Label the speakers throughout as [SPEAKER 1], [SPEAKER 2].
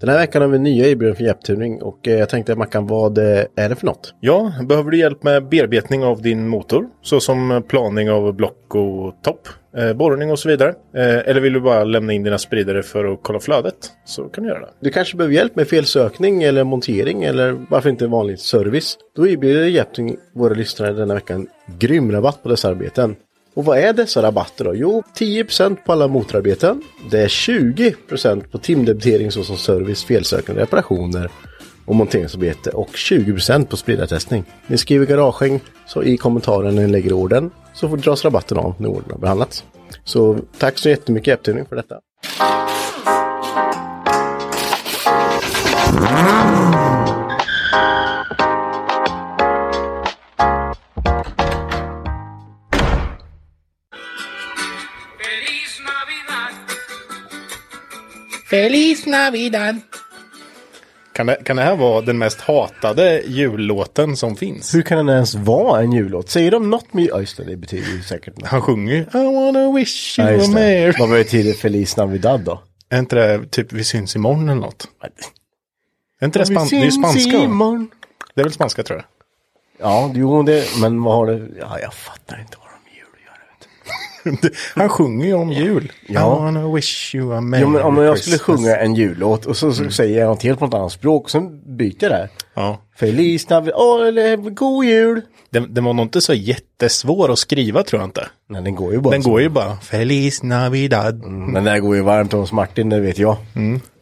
[SPEAKER 1] Den här veckan har vi nya erbjudanden för hjälptuning och eh, jag tänkte Mackan, vad eh, är det för något?
[SPEAKER 2] Ja, behöver du hjälp med bearbetning av din motor? Såsom eh, planing av block och topp, eh, borrning och så vidare. Eh, eller vill du bara lämna in dina spridare för att kolla flödet? Så kan du göra det.
[SPEAKER 1] Du kanske behöver hjälp med felsökning eller montering eller varför inte vanlig service? Då erbjuder Hjälptuning våra lyssnare denna veckan grym rabatt på dessa arbeten. Och vad är dessa rabatter då? Jo, 10% på alla motorarbeten. Det är 20% på timdebitering såsom service, felsökande, reparationer och monteringsarbete och 20% på spridartestning. Ni skriver garagehäng så i kommentaren när ni lägger orden så får dras rabatten av när orden har behandlats. Så tack så jättemycket Eptuning för detta.
[SPEAKER 3] Feliz Navidad.
[SPEAKER 4] Feliz Navidad!
[SPEAKER 2] Kan det, kan det här vara den mest hatade jullåten som finns?
[SPEAKER 1] Hur kan den ens vara en jullåt? Säger de något med... Ja, just det, det betyder ju säkert något.
[SPEAKER 2] Han sjunger ju I wanna wish
[SPEAKER 1] Ja,
[SPEAKER 2] you a
[SPEAKER 1] just det.
[SPEAKER 2] merry...
[SPEAKER 1] Vad betyder Feliz Navidad då?
[SPEAKER 2] Är inte det typ vi syns imorgon eller något? Är inte det, span... det är ju
[SPEAKER 1] syns
[SPEAKER 2] spanska? va?
[SPEAKER 1] imorgon.
[SPEAKER 2] Det är väl spanska tror jag.
[SPEAKER 1] Ja, jo, det, men vad har det... Ja, jag fattar inte vad de jul gör. Vet du.
[SPEAKER 2] Han sjunger ju om jul.
[SPEAKER 1] Ja.
[SPEAKER 2] I wanna wish you a merry
[SPEAKER 1] Jo, men om jag skulle
[SPEAKER 2] Christmas. Mm.
[SPEAKER 1] sjunga en jullåt och så, så säger jag något helt på något annat språk, sen byter jag det.
[SPEAKER 2] Ja.
[SPEAKER 1] Feliz Navidad, oh, eller God Jul!
[SPEAKER 2] Den, den var nog inte så jättesvår att skriva tror jag inte.
[SPEAKER 1] Nej, den går ju bara
[SPEAKER 2] Den
[SPEAKER 1] så.
[SPEAKER 2] går ju bara Feliz Navidad.
[SPEAKER 1] Men den där går ju varmt hos Martin, det vet jag.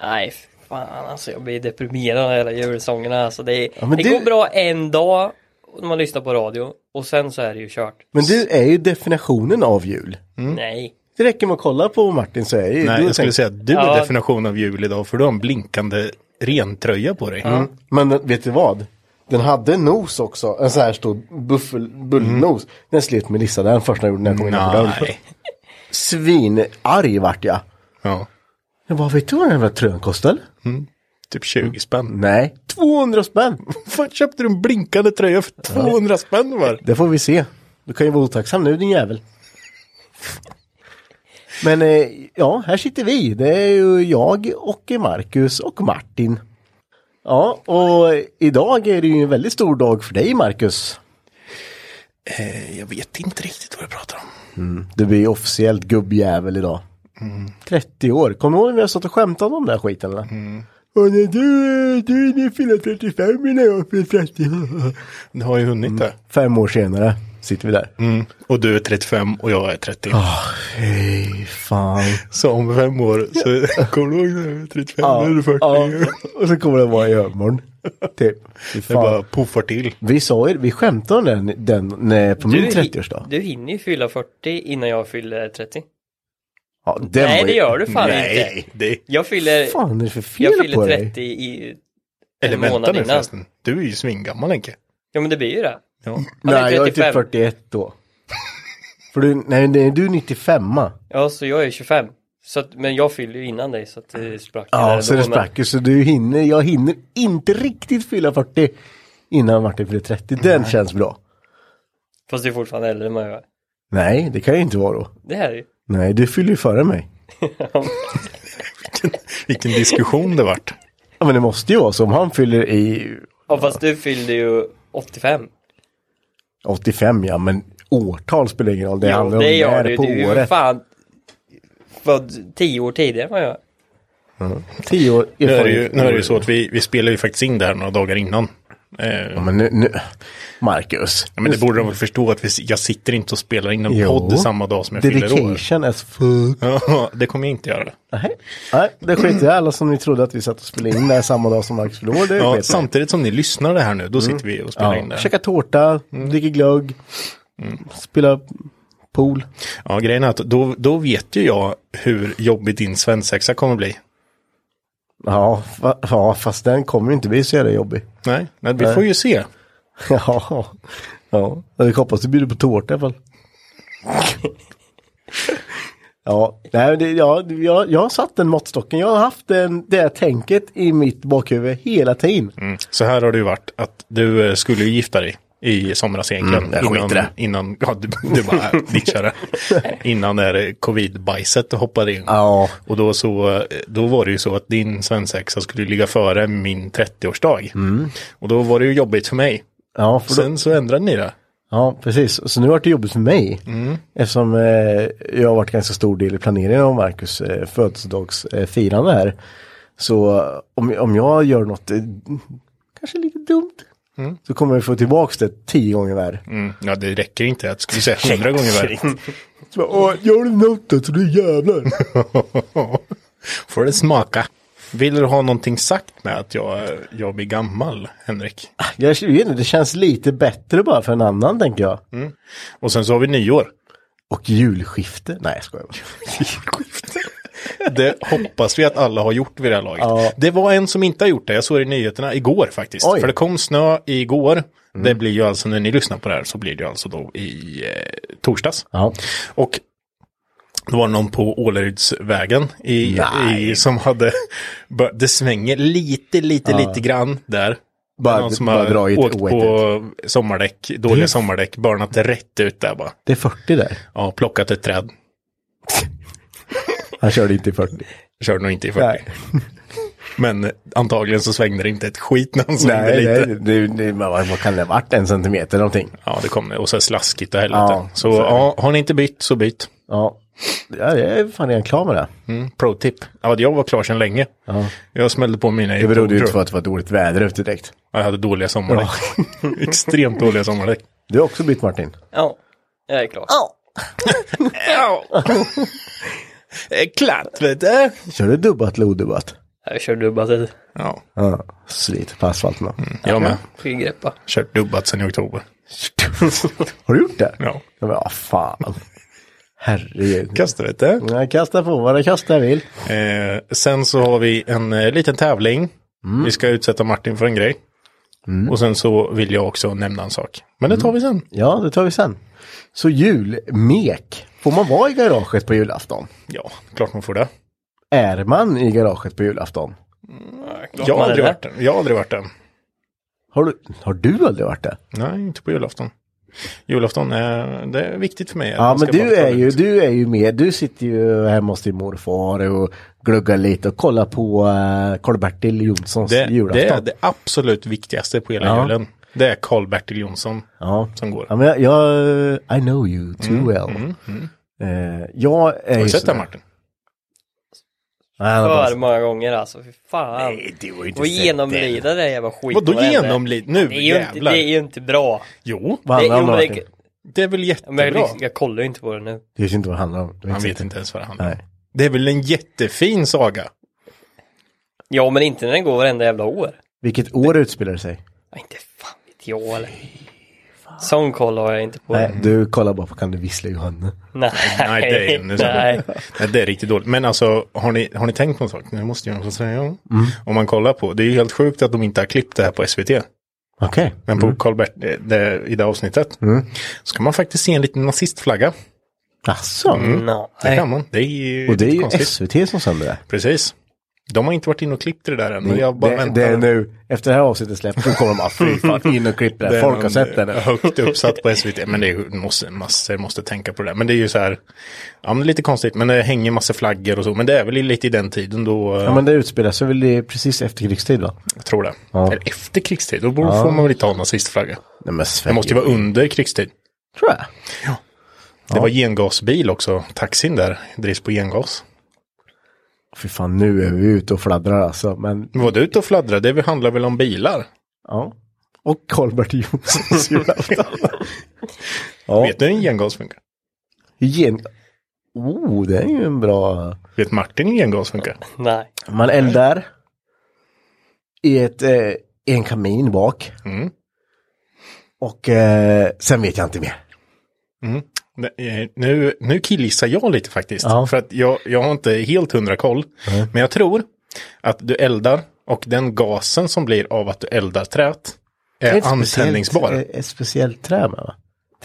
[SPEAKER 5] Nej, fan alltså jag blir deprimerad av alla julsångerna. Alltså, det
[SPEAKER 1] Ja, men
[SPEAKER 5] det
[SPEAKER 1] du-
[SPEAKER 5] går bra en dag när man lyssnar på radio och sen så är det ju kört.
[SPEAKER 1] Men du är ju definitionen av jul.
[SPEAKER 5] Nej.
[SPEAKER 1] Det räcker med att kolla på Martin så är ju...
[SPEAKER 2] Nej,
[SPEAKER 1] du
[SPEAKER 2] jag skulle
[SPEAKER 1] tänker-
[SPEAKER 2] säga att du är
[SPEAKER 5] Ja.
[SPEAKER 2] definition av jul idag för du har en blinkande rentröja på dig.
[SPEAKER 1] Mm. Men vet du vad? Den hade en nos också, en sån här stor buffel, bullnos. Den slet Melissa den första jag gjorde när jag kom in på dörren.
[SPEAKER 2] Mm. Nej.
[SPEAKER 1] Svinarg vart jag.
[SPEAKER 2] Ja,
[SPEAKER 1] Jag bara, vet du vad den här tröjan kostar?
[SPEAKER 2] typ 20 spänn.
[SPEAKER 1] Nej. 200 spänn!
[SPEAKER 2] Fan, köpte du en blinkande tröja för 200 spänn var?
[SPEAKER 1] Det får vi se. Du kan ju vara otacksam nu din jävel. Men eh, ja, här sitter vi. Det är ju jag och Marcus och Martin. Ja, och idag är det ju en väldigt stor dag för dig Marcus.
[SPEAKER 2] Jag vet inte riktigt vad jag pratar om.
[SPEAKER 1] Du blir ju officiellt gubbjävel idag. Mm. 30 år. Kommer du ihåg när vi har stått och skämtat om den här skiten eller? Och när du, du, du fyller 35 innan jag fyller 30.
[SPEAKER 2] Du har ju hunnit det. Mm.
[SPEAKER 1] Fem år senare sitter vi där.
[SPEAKER 2] Och du är 35 och jag är 30.
[SPEAKER 1] Ah, Fy fan.
[SPEAKER 2] Så om fem år så kommer du ihåg när du är 35, nu är du 40.
[SPEAKER 1] Och så kommer det vara i övermorgon. Typ. Fy
[SPEAKER 2] Det
[SPEAKER 1] fan.
[SPEAKER 2] bara puffar till.
[SPEAKER 1] Vi sa ju, vi skämtade om den, den när, på min
[SPEAKER 5] hi-
[SPEAKER 1] 30-årsdag.
[SPEAKER 5] Du hinner ju fylla 40 innan jag fyller 30.
[SPEAKER 1] Ja, den
[SPEAKER 5] Nej,
[SPEAKER 1] var
[SPEAKER 5] det
[SPEAKER 1] ju-
[SPEAKER 5] gör du fan inte.
[SPEAKER 2] Nej, det...
[SPEAKER 5] Jag fyller,
[SPEAKER 1] fan är det för fel
[SPEAKER 5] jag
[SPEAKER 1] på
[SPEAKER 5] fyller
[SPEAKER 1] dig?
[SPEAKER 5] 30 i
[SPEAKER 2] Eller
[SPEAKER 5] en
[SPEAKER 2] vänta
[SPEAKER 5] månad
[SPEAKER 2] nu
[SPEAKER 5] innan.
[SPEAKER 2] förresten. Du är ju svingammal Henke.
[SPEAKER 5] Ja men det blir ju det.
[SPEAKER 2] Ja.
[SPEAKER 5] Han är
[SPEAKER 1] Nej, jag är typ
[SPEAKER 5] 35.
[SPEAKER 1] 41 då. För du, nej, nej, du är 95
[SPEAKER 5] Ja, så jag är 25. Så att, men jag fyller ju innan dig så att det sprack. där
[SPEAKER 1] Ja,
[SPEAKER 5] då,
[SPEAKER 1] så det
[SPEAKER 5] men-
[SPEAKER 1] sprack ju. Så du hinner, jag hinner inte riktigt fylla 40 innan Martin fyller 30. Den känns bra.
[SPEAKER 5] Fast du är fortfarande äldre än mig va?
[SPEAKER 1] Nej, det kan ju inte vara då.
[SPEAKER 5] Det här är ju.
[SPEAKER 1] Nej, du fyller ju före mig.
[SPEAKER 2] Vilken diskussion det vart.
[SPEAKER 1] Ja, men det måste ju vara så. Om han fyller i
[SPEAKER 5] Ja fast du fyllde ju 85.
[SPEAKER 1] 85, ja, men årtal spelar ingen roll. Det
[SPEAKER 5] Jo,
[SPEAKER 1] handlar om när
[SPEAKER 5] du.
[SPEAKER 1] på
[SPEAKER 5] Du är ju
[SPEAKER 1] året.
[SPEAKER 5] fan född 10 år tidigare än vad jag är.
[SPEAKER 1] Tio år
[SPEAKER 2] Nu är det ju, nu är det ju så att vi, vi spelar ju faktiskt in det här några dagar innan. Eh,
[SPEAKER 1] Ja, men nu, nu. Marcus.
[SPEAKER 2] Ja, men det borde de väl förstå att vi, jag sitter inte och spelar in en
[SPEAKER 1] Jo.
[SPEAKER 2] podd samma dag som jag fyller år.
[SPEAKER 1] Dedication as fuck.
[SPEAKER 2] Ja, det kommer jag inte göra.
[SPEAKER 1] Nej, Nej, det skiter jag i. alla som ni trodde att vi satt och spelade in där samma dag som Marcus fyllde år. Det
[SPEAKER 2] Ja,
[SPEAKER 1] sket jag i.
[SPEAKER 2] samtidigt som ni lyssnar det här nu, då sitter vi och spelar in
[SPEAKER 1] ja.
[SPEAKER 2] det. Mm.
[SPEAKER 1] Käka tårta, dricka glögg, spela pool.
[SPEAKER 2] Ja, grejen är att då, då vet ju jag hur jobbig din svensexa kommer bli.
[SPEAKER 1] Ja, fa- ja, fast den kommer ju inte bli så jävla jobbig.
[SPEAKER 2] Nej, men vi får ju se.
[SPEAKER 1] ja, ja. Jag hoppas du bjuder på tårta i alla fall. ja, nej, men det, ja, jag, jag har satt den måttstocken. Jag har haft den, det här tänket i mitt bakhuvud hela tiden.
[SPEAKER 2] Så här har det ju varit att du eh, skulle ju gifta dig i somras egentligen.
[SPEAKER 1] Mm, jag skiter
[SPEAKER 2] innan,
[SPEAKER 1] det.
[SPEAKER 2] innan, ja, du, du bara ditchar det. Innan det här covid-bajset hoppade in.
[SPEAKER 1] Ja.
[SPEAKER 2] Och då, så, eh, då var det ju så att din svensexa skulle ligga före min 30-årsdag. Och då var det ju jobbigt för mig.
[SPEAKER 1] Ja, för då,
[SPEAKER 2] Sen så ändrade ni det.
[SPEAKER 1] ja, precis. Så nu har det jobbigt för mig. Eftersom eh, jag har varit ganska stor del i planeringen av Marcus eh, födelsedagsfirande här. Så eh, om, om jag gör något, eh, kanske lite dumt, så kommer jag få tillbaka det tio gånger värre.
[SPEAKER 2] Mm. Ja, det räcker inte. Jag skulle säga hundra gånger värre.
[SPEAKER 1] Så bara, "Åh, Gör du något så du jävlar.
[SPEAKER 2] Får det smaka. Vill du ha någonting sagt med att jag, jag blir gammal, Henrik?
[SPEAKER 1] Jag vet inte, det känns lite bättre bara för en annan tänker jag.
[SPEAKER 2] Mm. Och sen så har vi nyår.
[SPEAKER 1] Och julskifte, nej jag skojar bara.
[SPEAKER 2] Det hoppas vi att alla har gjort vid det här laget. Det var en som inte har gjort det. Jag såg det i nyheterna igår faktiskt.
[SPEAKER 1] Oj. Mm.
[SPEAKER 2] För det kom snö igår. Det blir ju alltså när ni lyssnar på det här så blir det ju alltså då i eh, torsdags.
[SPEAKER 1] Ja.
[SPEAKER 2] Och då var det någon på Ålerudsvägen i,
[SPEAKER 1] Nej.
[SPEAKER 2] i, som hade, bör- det svänger lite, lite, lite grann där.
[SPEAKER 1] Bara-
[SPEAKER 2] någon som
[SPEAKER 1] bara
[SPEAKER 2] har
[SPEAKER 1] dra i ett
[SPEAKER 2] åkt
[SPEAKER 1] oätet.
[SPEAKER 2] på sommardäck, dåliga sommardäck, barnat det rätt ut där bara.
[SPEAKER 1] Det är 40 där.
[SPEAKER 2] Ja, plockat ett träd.
[SPEAKER 1] Han körde inte i 40.
[SPEAKER 2] Körde nog inte i 40.
[SPEAKER 1] nej,
[SPEAKER 2] Men antagligen så svängde det inte ett skit när han svängde
[SPEAKER 1] nej,
[SPEAKER 2] lite.
[SPEAKER 1] nej det, det, men vad vad kan det ha varit? En centimeter någonting.
[SPEAKER 2] Ja, det kom det. Och så slaskigt och helvete.
[SPEAKER 1] Ja,
[SPEAKER 2] så
[SPEAKER 1] så är det.
[SPEAKER 2] ja, har ni inte bytt så byt.
[SPEAKER 1] Ja. ja, jag är fan redan klar med det.
[SPEAKER 2] Mm, pro tip. Ja, jag var klar sedan länge. Jag smällde på mina
[SPEAKER 1] Det berodde ju inte på att det var dåligt väder ute direkt.
[SPEAKER 2] Jag hade dåliga sommardäck. Extremt dåliga sommardäck.
[SPEAKER 1] Du har också bytt Martin.
[SPEAKER 5] Ja, jag är klar.
[SPEAKER 2] Klart, vet du.
[SPEAKER 1] Kör Eh, du dubbat eller odubbat?
[SPEAKER 5] Jag kör dubbat ett
[SPEAKER 2] Ja,
[SPEAKER 1] Ja, sliter på asfalten. då.
[SPEAKER 2] jag med.
[SPEAKER 5] skyggreppa.
[SPEAKER 2] Kört dubbat sedan i oktober.
[SPEAKER 1] Har du gjort det?
[SPEAKER 2] Ja.
[SPEAKER 1] Ja, men, ah, fan. Herregud.
[SPEAKER 2] Kasta, vet du.
[SPEAKER 1] Jag kastar på vad jag kastar vill.
[SPEAKER 2] Eh, sen så har vi en eh, liten tävling.
[SPEAKER 1] Mm.
[SPEAKER 2] Vi ska utsätta Martin för en grej. Och sen så vill jag också nämna en sak. Men det tar
[SPEAKER 1] Mm.
[SPEAKER 2] vi sen.
[SPEAKER 1] Ja, det tar vi sen. Så julmek. Får man vara i garaget på julafton?
[SPEAKER 2] Ja, klart man får det.
[SPEAKER 1] Är man i garaget på julafton?
[SPEAKER 2] Jag har
[SPEAKER 5] man
[SPEAKER 2] aldrig
[SPEAKER 5] är
[SPEAKER 2] varit den. Jag har aldrig varit den.
[SPEAKER 1] Har du, har du aldrig varit det?
[SPEAKER 2] Nej, inte på julafton. Julafton är, det är viktigt för mig.
[SPEAKER 1] Ja,
[SPEAKER 2] Man ska
[SPEAKER 1] men
[SPEAKER 2] bara
[SPEAKER 1] du
[SPEAKER 2] ta
[SPEAKER 1] är,
[SPEAKER 2] det
[SPEAKER 1] ju,
[SPEAKER 2] lugnt.
[SPEAKER 1] du är ju med. Du sitter ju hemma hos din morfar och gluggar lite och kollar på eh, Karl-Bertil Jonssons
[SPEAKER 2] det, det är
[SPEAKER 1] julafton.
[SPEAKER 2] det absolut viktigaste på hela
[SPEAKER 1] Ja.
[SPEAKER 2] julen. Det är Karl-Bertil Jonsson
[SPEAKER 1] Ja.
[SPEAKER 2] som går.
[SPEAKER 1] ja, men jag, jag, I know you too well. Eh, jag är
[SPEAKER 2] Mm, Har
[SPEAKER 1] ju
[SPEAKER 2] du sett
[SPEAKER 1] sådär-
[SPEAKER 2] det Martin?
[SPEAKER 1] Nej, han har bara-
[SPEAKER 5] För många gånger alltså, fy fan.
[SPEAKER 1] Nej, du har ju inte
[SPEAKER 5] Och
[SPEAKER 1] sett det.
[SPEAKER 5] genomlida det jävla skiten.
[SPEAKER 2] Vadå
[SPEAKER 5] varenda-
[SPEAKER 2] genomlid? Nu
[SPEAKER 5] Det är ju inte,
[SPEAKER 2] jävlar.
[SPEAKER 5] det är ju inte bra.
[SPEAKER 2] Jo,
[SPEAKER 1] Vad
[SPEAKER 5] Det,
[SPEAKER 1] handlar det
[SPEAKER 5] jo,
[SPEAKER 1] om
[SPEAKER 5] men
[SPEAKER 1] Martin?
[SPEAKER 5] det,
[SPEAKER 2] det är väl
[SPEAKER 5] men jag,
[SPEAKER 2] jättebra.
[SPEAKER 5] liksom- jag kollar ju inte på det nu.
[SPEAKER 1] Du vet inte vad det handlar om. Du
[SPEAKER 2] Han
[SPEAKER 1] sett
[SPEAKER 2] vet
[SPEAKER 1] det.
[SPEAKER 2] inte ens vad det handlar om.
[SPEAKER 1] Nej.
[SPEAKER 2] Det är väl en jättefin saga.
[SPEAKER 5] Ja men inte när den går varenda jävla år.
[SPEAKER 1] Vilket år utspelar det sig?
[SPEAKER 5] Ja, inte fan vet jag eller. Sån koll har jag inte på.
[SPEAKER 1] Nej, du kollar bara på Kan du vissla Johanna?
[SPEAKER 5] Nej.
[SPEAKER 2] Nej, det är nu så.
[SPEAKER 5] Nej.
[SPEAKER 2] Nej, det är riktigt dåligt. Men alltså, har ni, har ni tänkt på en sak? Nu måste jag få säga.
[SPEAKER 1] Mm.
[SPEAKER 2] Om man kollar på, det är ju helt sjukt att de inte har klippt det här på SVT.
[SPEAKER 1] Okej.
[SPEAKER 2] Mm. eh,
[SPEAKER 1] Mm.
[SPEAKER 2] Men på Karl Bert, det, det, i det avsnittet. Så kan man faktiskt se en liten nazistflagga.
[SPEAKER 1] Jaså?
[SPEAKER 5] Nå,
[SPEAKER 2] Det
[SPEAKER 5] nej.
[SPEAKER 2] kan man. Det är ju
[SPEAKER 1] Mm. Och det är ju
[SPEAKER 2] konstigt.
[SPEAKER 1] SVT som sänder det.
[SPEAKER 2] Precis. De har inte varit inne och klippt det där än. Men Mm. jag bara
[SPEAKER 1] det,
[SPEAKER 2] väntar.
[SPEAKER 1] det är nu, efter det här avsnittet släpps, nu kommer de bara fy fan, in och klipp det.
[SPEAKER 2] Det
[SPEAKER 1] här.
[SPEAKER 2] är
[SPEAKER 1] Folk har
[SPEAKER 2] någon eh,
[SPEAKER 1] sett det nu.
[SPEAKER 2] Högt uppsatt på SVT. Men det är ju måste, massor måste tänka på det där. Men det är ju så här. Ja, men lite konstigt. Men det hänger massa flaggor och så. Men det är väl lite i den tiden då. eh,
[SPEAKER 1] Ja men det utspelar sig väl i precis efter krigstid va?
[SPEAKER 2] Jag tror det.
[SPEAKER 1] Ja.
[SPEAKER 2] Eller efter krigstid. Då borde, får man väl inte ha nazistflagga.
[SPEAKER 1] Nej men
[SPEAKER 2] Det
[SPEAKER 1] Sverige.
[SPEAKER 2] måste ju vara under krigstid.
[SPEAKER 1] Tror jag.
[SPEAKER 2] Det var gengasbil också. Taxin där drivs på gengas.
[SPEAKER 1] Fy fan nu är vi ute och fladdrar alltså. Men
[SPEAKER 2] Men Var du ute och fladdrade? Det handlar väl om bilar?
[SPEAKER 1] ja. Och Karl-Bert Jonssons julafton. ja.
[SPEAKER 2] Vet du hur en gengas funkar?
[SPEAKER 1] Gen... Oh, det är ju en bra...
[SPEAKER 2] Vet Martin hur gengas funkar?
[SPEAKER 5] nej.
[SPEAKER 1] Man eldar i ett, eh, i en kamin bak.
[SPEAKER 2] Mm,
[SPEAKER 1] Och eh, sen vet jag inte mer.
[SPEAKER 2] Nej, eh, Nu, nu killgissar jag lite faktiskt.
[SPEAKER 1] Ja.
[SPEAKER 2] För att jag, jag har inte helt hundra koll. Men jag tror att du eldar och den gasen som blir av att du eldar trät är,
[SPEAKER 1] ett speciellt-
[SPEAKER 2] antändningsbar.
[SPEAKER 1] eh, Ett speciellt trä med va?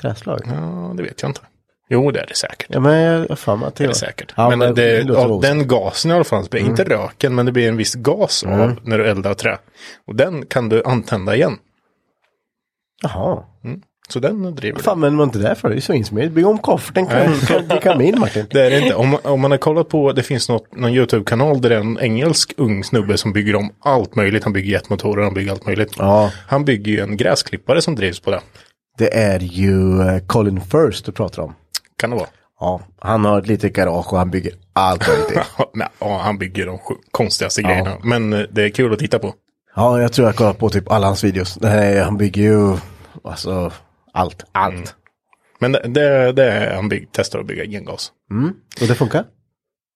[SPEAKER 1] Träslag?
[SPEAKER 2] Ja, det vet jag inte. Jo, det är det säkert.
[SPEAKER 1] Ja men jag har för mig att det
[SPEAKER 2] Det är det
[SPEAKER 1] var-
[SPEAKER 2] säkert.
[SPEAKER 1] Ja,
[SPEAKER 2] men det,
[SPEAKER 1] låter
[SPEAKER 2] av
[SPEAKER 1] roligt.
[SPEAKER 2] den gasen i alla fall, det blir inte
[SPEAKER 1] Mm.
[SPEAKER 2] röken, men det blir en viss gas av när du eldar trä. Och den kan du antända igen.
[SPEAKER 1] Jaha.
[SPEAKER 2] Så den driver du.
[SPEAKER 1] Fan men var inte det för? Det är ju svinsmidigt. Bygg om kofferten. Kom- kom- Kom in Martin.
[SPEAKER 2] Det är det inte. Om, om man har kollat på, det finns något, någon YouTube-kanal där det är en engelsk ung snubbe som bygger om allt möjligt. Han bygger jetmotorer, han bygger allt möjligt.
[SPEAKER 1] Ja.
[SPEAKER 2] Han bygger ju en gräsklippare som drivs på det.
[SPEAKER 1] Det är ju eh, Colin First du pratar om.
[SPEAKER 2] Kan det vara?
[SPEAKER 1] Ja, han har ett litet garage och han bygger allt möjligt.
[SPEAKER 2] Nej, ja, han bygger de sju- konstigaste grejerna. Men eh, det är kul att titta på.
[SPEAKER 1] Ja, jag tror jag kollar på typ alla hans videos. Nej, han bygger ju alltså allt, allt.
[SPEAKER 2] Men det, det, det är han bygg, testar att bygga gengas.
[SPEAKER 1] Och det funkar?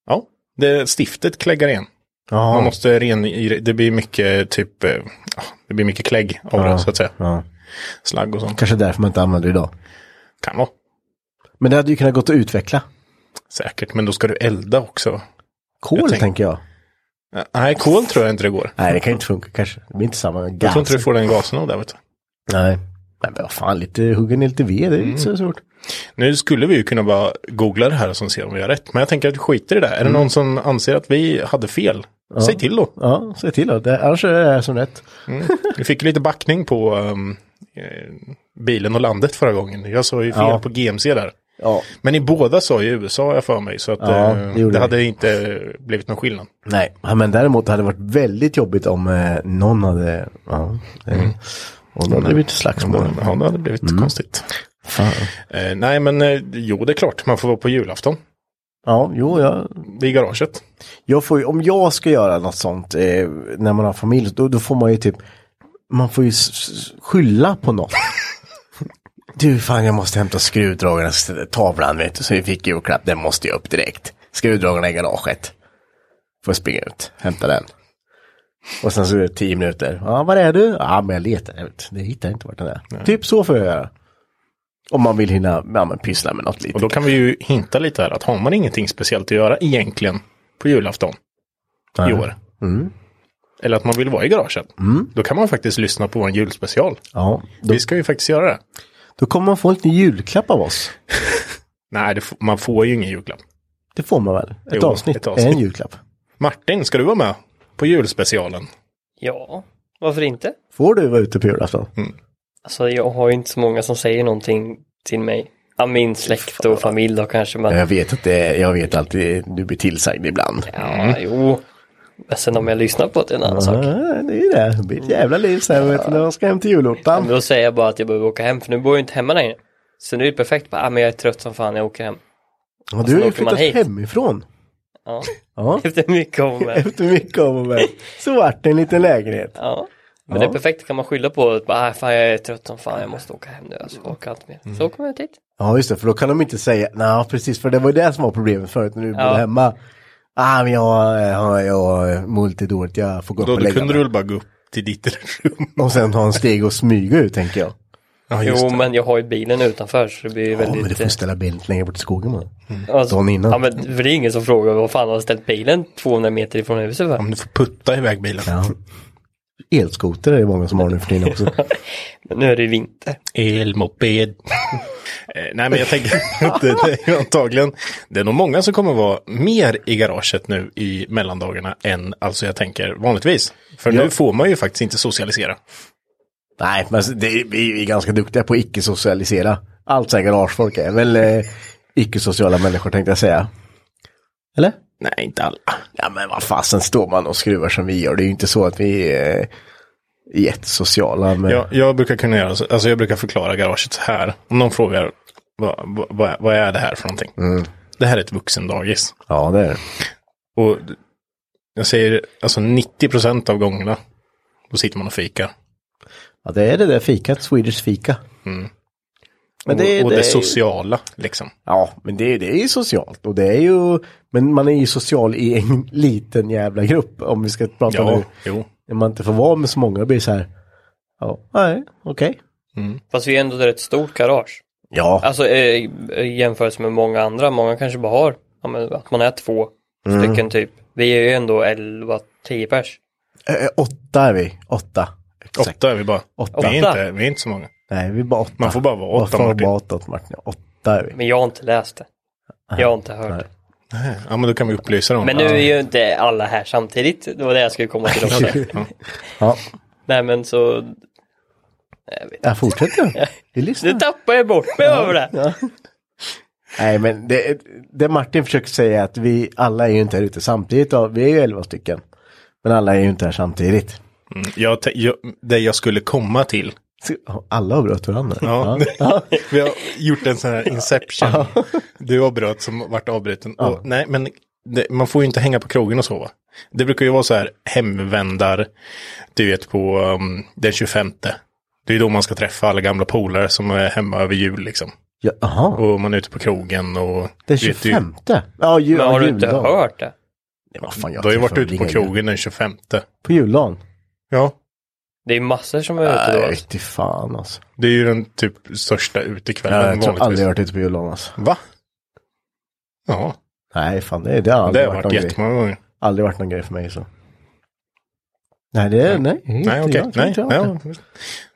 [SPEAKER 2] Ja, det, stiftet kläggar igen.
[SPEAKER 1] Ja.
[SPEAKER 2] Man måste ren, det blir mycket typ, eh, ja, det blir mycket klägg av det så att säga.
[SPEAKER 1] Ja.
[SPEAKER 2] Slagg och sånt.
[SPEAKER 1] Kanske därför man inte använder det idag.
[SPEAKER 2] Kan vara.
[SPEAKER 1] Men det hade ju kunnat gått att utveckla.
[SPEAKER 2] Säkert, men då ska du elda också.
[SPEAKER 1] Kol
[SPEAKER 2] Jag tänk-
[SPEAKER 1] tänker jag.
[SPEAKER 2] Nej, kol tror jag inte det går.
[SPEAKER 1] Nej, det kan ju inte funka kanske. Det blir inte samma gas.
[SPEAKER 2] Jag tror inte du får den gasen av det. Vet du.
[SPEAKER 1] Nej. Nej, men vad fan, lite hugga ner lite ved, det är ju
[SPEAKER 2] Mm.
[SPEAKER 1] inte så svårt.
[SPEAKER 2] Nu skulle vi ju kunna bara googla det här och så se om vi har rätt. Men jag tänker att vi skiter i det. Är det någon som anser att vi hade fel? Säg till då.
[SPEAKER 1] Mm. Ja, se till då. Det, annars är det här som rätt.
[SPEAKER 2] Vi fick lite backning på ehm, eh, bilen och landet förra gången. Jag sa ju fel
[SPEAKER 1] Ja.
[SPEAKER 2] på GMC där.
[SPEAKER 1] Ja.
[SPEAKER 2] Men ni båda sa ju USA har jag för mig. Så att,
[SPEAKER 1] Ja, det
[SPEAKER 2] eh, det,
[SPEAKER 1] gjorde vi.
[SPEAKER 2] hade inte blivit någon skillnad.
[SPEAKER 1] Nej, ja, men däremot hade det varit väldigt jobbigt om eh, någon hade... Ja, eh,
[SPEAKER 2] Mm.
[SPEAKER 1] Och då hade det blivit slagsmål.
[SPEAKER 2] Ja, det hade blivit konstigt.
[SPEAKER 1] Fan.
[SPEAKER 2] Mm. Eh, nej, men eh, jo, det är klart. Man får vara på julafton.
[SPEAKER 1] Ja, jo, jag,
[SPEAKER 2] Det är I garaget.
[SPEAKER 1] jag får ju, om jag ska göra något sånt eh, när man har familj, då, då får man ju typ, man får ju s- s- skylla på något. du, fan jag måste hämta skruvdragaren, tavlan vet du, så vi fick julklapp, den måste ju upp direkt. Skruvdragaren är i garaget. Får springa ut, hämta den. Och sen så är det tio minuter. Ja, var är du? Ja, men jag letar. Jag vet, det hittar jag inte vart den är. Typ så får jag göra. Om man vill hinna ja, men pyssla med något lite.
[SPEAKER 2] Och då kan vi ju hinta lite här att har man ingenting speciellt att göra egentligen på julafton i år. Eller att man vill vara i garaget. Då kan man faktiskt lyssna på vår julspecial.
[SPEAKER 1] Ja, då,
[SPEAKER 2] Vi ska ju faktiskt göra det.
[SPEAKER 1] då kommer man få en liten julklapp av oss.
[SPEAKER 2] Nej, det f- man får ju ingen julklapp.
[SPEAKER 1] Det får man väl? Ett,
[SPEAKER 2] Jo,
[SPEAKER 1] avsnitt,
[SPEAKER 2] ett avsnitt.
[SPEAKER 1] är en julklapp.
[SPEAKER 2] Martin, ska du vara med på julspecialen?
[SPEAKER 5] Ja, varför inte?
[SPEAKER 1] Får du vara ute på julafton?
[SPEAKER 5] Alltså jag har ju inte så många som säger någonting till mig. Ja, min släkt och familj då kanske, men
[SPEAKER 1] Jag vet att det, jag vet alltid, du blir tillsagd ibland.
[SPEAKER 5] ja,
[SPEAKER 2] Mm.
[SPEAKER 5] jo. Men sen om jag lyssnar på det är en annan sak.
[SPEAKER 1] Ja, det är ju det. Det blir ett jävla liv sen vet du, när man ska hem till
[SPEAKER 5] Men
[SPEAKER 1] julottan.
[SPEAKER 5] då säger jag bara att jag behöver åka hem, för nu bor jag inte hemma längre. Så nu är det perfekt, bara, ah, men jag är trött som fan, jag åker hem.
[SPEAKER 1] Och du har
[SPEAKER 5] då
[SPEAKER 1] ju
[SPEAKER 5] åker man
[SPEAKER 1] flyttat
[SPEAKER 5] hit.
[SPEAKER 1] hemifrån.
[SPEAKER 5] Ja,
[SPEAKER 1] Ja,
[SPEAKER 5] efter mycket om men-
[SPEAKER 1] efter mycket om och men. Så vart det en liten lägenhet.
[SPEAKER 5] Ja. Men
[SPEAKER 1] Ja.
[SPEAKER 5] det är perfekt, kan man skylla på att bara, ah, fan jag är trött som fan, jag måste åka hem nu, alltså, jag orkar inte
[SPEAKER 1] Mm.
[SPEAKER 5] mer. Så kommer jag dit.
[SPEAKER 1] Ja, just det, för då kan de inte säga, nej precis, för det var ju det som var problemet förut när du bodde hemma. Ah, men jag, jag, jag eh, mår lite dåligt, jag får gå upp
[SPEAKER 2] Då,
[SPEAKER 1] och
[SPEAKER 2] då
[SPEAKER 1] lägga
[SPEAKER 2] kunde du
[SPEAKER 1] mig.
[SPEAKER 2] väl bara gå upp till ditt rum?
[SPEAKER 1] Och sen ta en steg och smyga ut, tänker jag.
[SPEAKER 2] Ja,
[SPEAKER 5] Jo, men jag har ju bilen utanför så det blir ju
[SPEAKER 1] Ja, men du
[SPEAKER 5] väldigt...
[SPEAKER 1] får ställa bilen lite längre bort i skogen. Man.
[SPEAKER 5] eh, alltså,
[SPEAKER 1] dagen innan.
[SPEAKER 5] Ja, men för det är ingen som frågar vad fan har du ställt bilen 200 meter ifrån huset för?
[SPEAKER 2] Om du får putta iväg bilen.
[SPEAKER 1] Ja. Elskoter är det många som har nu för tiden också.
[SPEAKER 5] Men nu är det ju vinter.
[SPEAKER 2] Elmoped. Eh, nej, men jag tänker att det, det är antagligen, det är nog många som kommer vara mer i garaget nu i mellandagarna än alltså jag tänker vanligtvis. För
[SPEAKER 1] Ja.
[SPEAKER 2] nu får man ju faktiskt inte socialisera.
[SPEAKER 1] Nej, men alltså, det, vi är ganska duktiga på att icke-socialisera. Allt så här garagefolk är väl eh, icke-sociala människor tänkte jag säga. Eller?
[SPEAKER 2] Nej, inte alla.
[SPEAKER 1] Ja men vad fasen står man och skruvar som vi gör. Det är ju inte så att vi är eh, jättesociala. Men...
[SPEAKER 2] Jag, jag brukar kunna göra så, alltså jag brukar förklara garaget så här. Om någon frågar vad, vad- vad, vad är det här för någonting? Det här är ett vuxendagis.
[SPEAKER 1] ja, det är det.
[SPEAKER 2] Och jag säger alltså 90 procent av gångerna, då sitter man och fikar.
[SPEAKER 1] Ja, det är det där fikat, Swedish fika. Men det,
[SPEAKER 2] Mm. och, och det,
[SPEAKER 1] är ju-
[SPEAKER 2] sociala liksom.
[SPEAKER 1] Ja, men det, det är ju socialt och det är ju, men man är ju social i en liten jävla grupp om vi ska prata
[SPEAKER 2] Ja,
[SPEAKER 1] nu.
[SPEAKER 2] jo.
[SPEAKER 1] När man inte får vara med så många blir det så här, ja, nej, okej.
[SPEAKER 5] Fast vi är ändå ett rätt stort garage.
[SPEAKER 1] Ja,
[SPEAKER 5] Alltså eh, i jämförelse med många andra. Många kanske bara har, ja, men att man är två
[SPEAKER 1] Mm.
[SPEAKER 5] stycken typ. Vi är ju ändå 11-10 pers.
[SPEAKER 1] eh, åtta är vi, åtta. Exakt.
[SPEAKER 2] Åtta är vi bara.
[SPEAKER 1] Åtta.
[SPEAKER 2] Vi, är inte, vi är inte så många.
[SPEAKER 1] Nej, vi är bara åtta.
[SPEAKER 2] Man får bara vara
[SPEAKER 1] Man
[SPEAKER 2] åtta,
[SPEAKER 1] får
[SPEAKER 2] Martin.
[SPEAKER 1] bara åtta, åtta, Martin. Åtta är vi.
[SPEAKER 5] Men jag har inte läst det. Jag har inte hört det.
[SPEAKER 2] Ja, men då kan vi upplysa dem.
[SPEAKER 5] Men nu är ju inte alla här samtidigt. Det var det jag skulle komma till också.
[SPEAKER 1] Ja,
[SPEAKER 5] Nej men så,
[SPEAKER 1] jag fortsätter. Vi
[SPEAKER 5] nu
[SPEAKER 1] lyssnar.
[SPEAKER 5] tappar jag bort mig över det.
[SPEAKER 1] Nej, men det, det Martin försöker säga är att vi alla är ju inte här ute samtidigt. och Vi är ju elva stycken. Men alla är ju inte här samtidigt.
[SPEAKER 2] Jag, te- jag, det jag skulle komma till.
[SPEAKER 1] Så- Alla avbröt varandra.
[SPEAKER 2] Ja. vi har gjort en sån här inception. du avbröt som vart avbruten. Och, nej, men det, man får ju inte hänga på krogen och sova. Det brukar ju vara så här hemvändar, du vet på um, den 25. Det är då man ska träffa alla gamla polare som är hemma över jul liksom.
[SPEAKER 1] Ja, Jaha,
[SPEAKER 2] Och man är ute på krogen och...
[SPEAKER 1] den
[SPEAKER 2] du vet, du-
[SPEAKER 1] 25. Ja, ju,
[SPEAKER 5] Men har du inte
[SPEAKER 1] juldagen.
[SPEAKER 5] hört det?
[SPEAKER 1] Nej, vad fan,
[SPEAKER 2] Du har ju varit
[SPEAKER 1] träffar
[SPEAKER 2] ute på
[SPEAKER 1] väl ingen-
[SPEAKER 2] krogen den 25.
[SPEAKER 1] På juldagen?
[SPEAKER 2] Ja,
[SPEAKER 5] Det är massor som är ute då.
[SPEAKER 1] Nej,
[SPEAKER 5] alltså.
[SPEAKER 1] fy fan alltså.
[SPEAKER 2] det är ju den typ största utekvällen
[SPEAKER 1] jag tror aldrig
[SPEAKER 2] vanligtvis.
[SPEAKER 1] jag varit ute på juldagen alltså.
[SPEAKER 2] Va? Ja,
[SPEAKER 1] Nej, fan det, det har
[SPEAKER 2] det
[SPEAKER 1] aldrig
[SPEAKER 2] har
[SPEAKER 1] varit
[SPEAKER 2] varit
[SPEAKER 1] någon grej.
[SPEAKER 2] jättemånga gånger.
[SPEAKER 1] Aldrig varit någon grej för mig så. Nej, det är, Eh, nej.
[SPEAKER 2] Mm, Nej,
[SPEAKER 1] jag
[SPEAKER 2] okej.
[SPEAKER 1] tror
[SPEAKER 2] Nej,
[SPEAKER 1] inte jag har
[SPEAKER 2] ja,
[SPEAKER 1] varit
[SPEAKER 2] visst.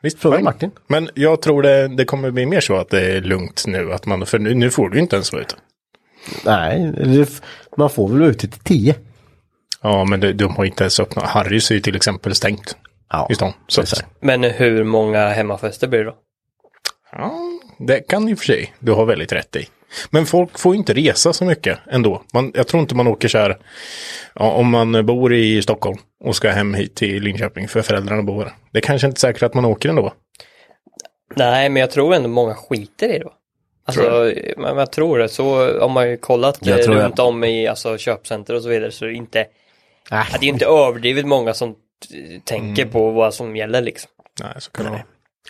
[SPEAKER 2] visst.
[SPEAKER 1] Fråga
[SPEAKER 2] fine.
[SPEAKER 1] Martin.
[SPEAKER 2] Men jag tror det, det kommer bli mer så att det är lugnt nu. Att man, för nu, nu får du ju inte ens vara ute.
[SPEAKER 1] det. Nej, det- man får väl vara ute till tio.
[SPEAKER 2] Ja, men de, de har inte ens öppnat. Harrys är ju till exempel stängt
[SPEAKER 1] Ja,
[SPEAKER 2] i stan. Så
[SPEAKER 1] det är
[SPEAKER 2] att,
[SPEAKER 1] sant.
[SPEAKER 5] Men hur många hemmafester blir det då?
[SPEAKER 2] ja, det kan ju för sig. Du har väldigt rätt i. Men folk får ju inte resa så mycket ändå. Man, jag tror inte man åker så här. Ja, om man bor i Stockholm och ska hem hit till Linköping för föräldrarna bor här. Det är kanske inte säkert att man åker ändå.
[SPEAKER 5] Nej, men jag tror ändå många skiter i det. Alltså, men jag tror det. Så har man ju kollat
[SPEAKER 1] Jag
[SPEAKER 5] eh,
[SPEAKER 1] tror jag- Äh.
[SPEAKER 5] runt om i alltså, köpcenter och så vidare. Så det är inte,
[SPEAKER 1] Nej.
[SPEAKER 5] det är ju inte överdrivet många som eh, tänker
[SPEAKER 1] Mm.
[SPEAKER 5] på vad som gäller liksom.
[SPEAKER 2] Nej, så kan det vara.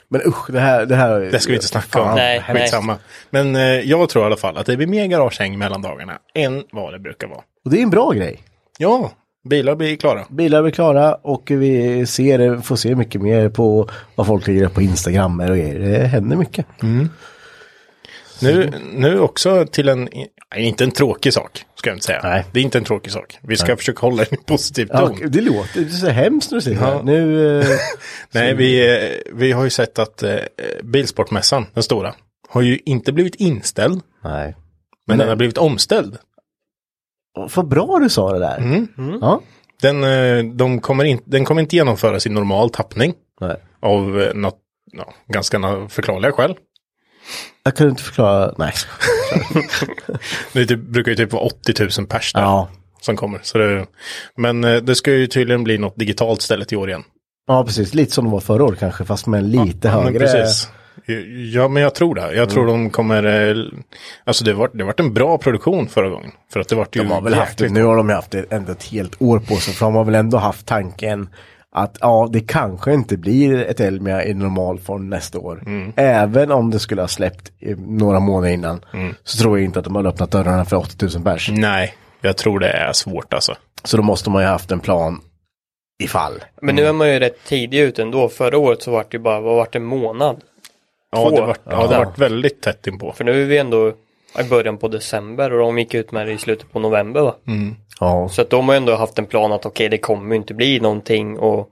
[SPEAKER 1] Men usch, det här, det här.
[SPEAKER 2] Det ska vi inte snacka om.
[SPEAKER 5] Nej, nej.
[SPEAKER 2] Skitsamma. Men eh, jag tror i alla fall att det blir mer garagehäng mellan dagarna än vad det brukar vara.
[SPEAKER 1] Och det är en bra grej.
[SPEAKER 2] Ja, bilar blir klara.
[SPEAKER 1] Bilar blir klara och vi ser, får se mycket mer på vad folk lägger upp på Instagram och grejer. Det händer mycket.
[SPEAKER 2] Nu, nu också till en, nej, inte en tråkig sak, ska jag inte säga.
[SPEAKER 1] Nej.
[SPEAKER 2] Det är inte en tråkig sak. Vi ska försöka hålla den i positiv
[SPEAKER 1] Ja,
[SPEAKER 2] ton.
[SPEAKER 1] och det låter det är så hemskt när du säger det här. Nu, eh,
[SPEAKER 2] Nej, vi, eh, vi har ju sett att eh, Bilsportmässan, den stora, har ju inte blivit inställd,
[SPEAKER 1] nej.
[SPEAKER 2] men den har blivit omställd.
[SPEAKER 1] Åh, Vad bra du sa det där.
[SPEAKER 2] Mm.
[SPEAKER 1] Ja.
[SPEAKER 2] Den, eh, de kommer in, den kommer inte genomföras i normal tappning
[SPEAKER 1] Nej.
[SPEAKER 2] av eh, något, ja, ganska na- förklarliga skäl.
[SPEAKER 1] Jag kunde inte förklara, nej.
[SPEAKER 2] Det är typ, brukar ju typ vara 80 000 pers där
[SPEAKER 1] Ja,
[SPEAKER 2] som kommer. Så det, men eh, det ska ju tydligen bli något digitalt stället i år igen.
[SPEAKER 1] ja precis. Lite som det var förra året kanske, fast med en lite
[SPEAKER 2] Ja, men
[SPEAKER 1] högre. Mm.
[SPEAKER 2] precis. Ja, men jag tror det. Jag tror de kommer... eh, Alltså det vart, det vart en bra produktion förra gången. För att det vart ju...
[SPEAKER 1] De har väl haft det,
[SPEAKER 2] jäkligt-
[SPEAKER 1] nu har de ju haft det ändå ett helt år på sig, för de har väl ändå haft tanken att ja, det kanske inte blir ett Elmia i normal form nästa år.
[SPEAKER 2] Mm.
[SPEAKER 1] Även om det skulle ha släppt i några månader innan,
[SPEAKER 2] Mm.
[SPEAKER 1] så tror jag inte att de har öppnat dörrarna för 80 000 pers.
[SPEAKER 2] Nej, jag tror det är svårt alltså.
[SPEAKER 1] Så då måste man ju ha haft en plan ifall.
[SPEAKER 5] Men nu är
[SPEAKER 1] Mm.
[SPEAKER 5] man ju rätt tidig ute ändå. Förra året så var det ju bara, vad vart det, en månad?
[SPEAKER 2] Ja,
[SPEAKER 5] Två.
[SPEAKER 2] det vart, ja, det
[SPEAKER 1] Ja.
[SPEAKER 2] vart väldigt tätt inpå.
[SPEAKER 5] För nu är vi ändå i början på december och de gick ut med det i slutet på november va?
[SPEAKER 1] Ja,
[SPEAKER 5] Så att de har ju ändå haft en plan att okej, det kommer ju inte bli någonting och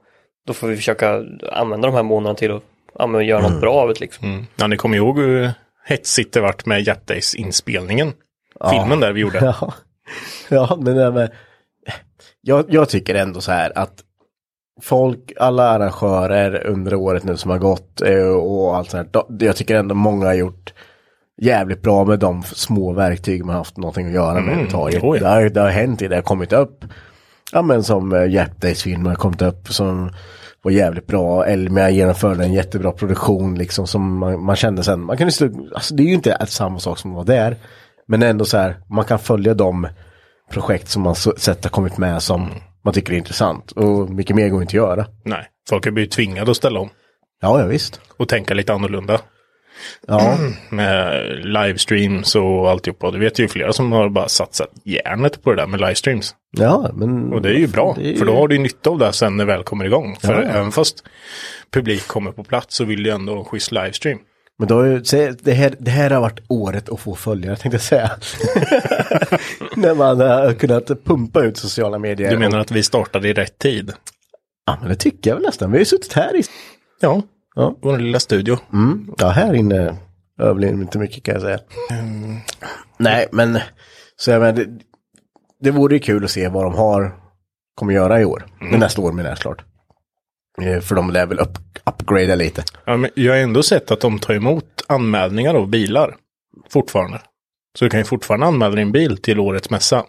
[SPEAKER 5] då
[SPEAKER 2] Mm.
[SPEAKER 5] får vi försöka använda de här månaderna till att ja, men göra något bra av det liksom.
[SPEAKER 2] Ja, ni kommer ihåg hur hetsigt det vart med Yacht Days-inspelningen. Filmen där vi gjorde.
[SPEAKER 1] Ja, ja men, det med, jag, jag tycker ändå så här att folk, alla arrangörer under året nu som har gått eh, och allt sånt här, de- jag tycker ändå många har gjort jävligt bra med de små verktyg man haft någonting att göra med överhuvudtaget.
[SPEAKER 2] jo, ja.
[SPEAKER 1] Det, har, det har hänt, det har kommit upp. Ja men som eh, Yap Days-filmer har kommit upp som var jävligt bra. Elmia genomförde en jättebra produktion liksom som man, man kände sen. Man kunde stå, alltså det är ju inte alls samma sak som var där. Men ändå så här, man kan följa de projekt som man så- sett har kommit med som man tycker är intressant. Och mycket mer går inte att göra.
[SPEAKER 2] Nej, folk blir ju tvingade att ställa om
[SPEAKER 1] Ja, ja visst.
[SPEAKER 2] och tänka lite annorlunda.
[SPEAKER 1] Ja,
[SPEAKER 2] Med livestreams och alltihopa. Det vet ju flera som har bara satsat hjärnet på det där med livestreams.
[SPEAKER 1] ja men.
[SPEAKER 2] Och det är ju bra,
[SPEAKER 1] Det är ju-
[SPEAKER 2] för då har du ju nytta av det här sen när det väl kommer igång. För
[SPEAKER 1] Ja.
[SPEAKER 2] även fast publik kommer på plats så vill du ju ändå ha en schysst livestream.
[SPEAKER 1] Men då, har ju- se, det, här, det här har varit året att få följare tänkte jag säga. När man har kunnat pumpa ut sociala medier.
[SPEAKER 2] Du menar att vi startade i rätt tid?
[SPEAKER 1] Ja, men det tycker jag väl nästan. Vi har ju suttit här i...
[SPEAKER 2] Ja,
[SPEAKER 1] Ja.
[SPEAKER 2] vår lilla studio.
[SPEAKER 1] Mm. Ja, här inne överlever inte mycket kan jag säga. Mm. Nej, men så jag menar, det, det vore ju kul att se vad de har, kommer göra i år. Men Nästa år menar jag klart. Eh, För de lär väl upp, upgradea lite.
[SPEAKER 2] Ja, men jag har ändå sett att de tar emot anmälningar av bilar fortfarande. Så du kan ju fortfarande anmäla din bil till årets mässa.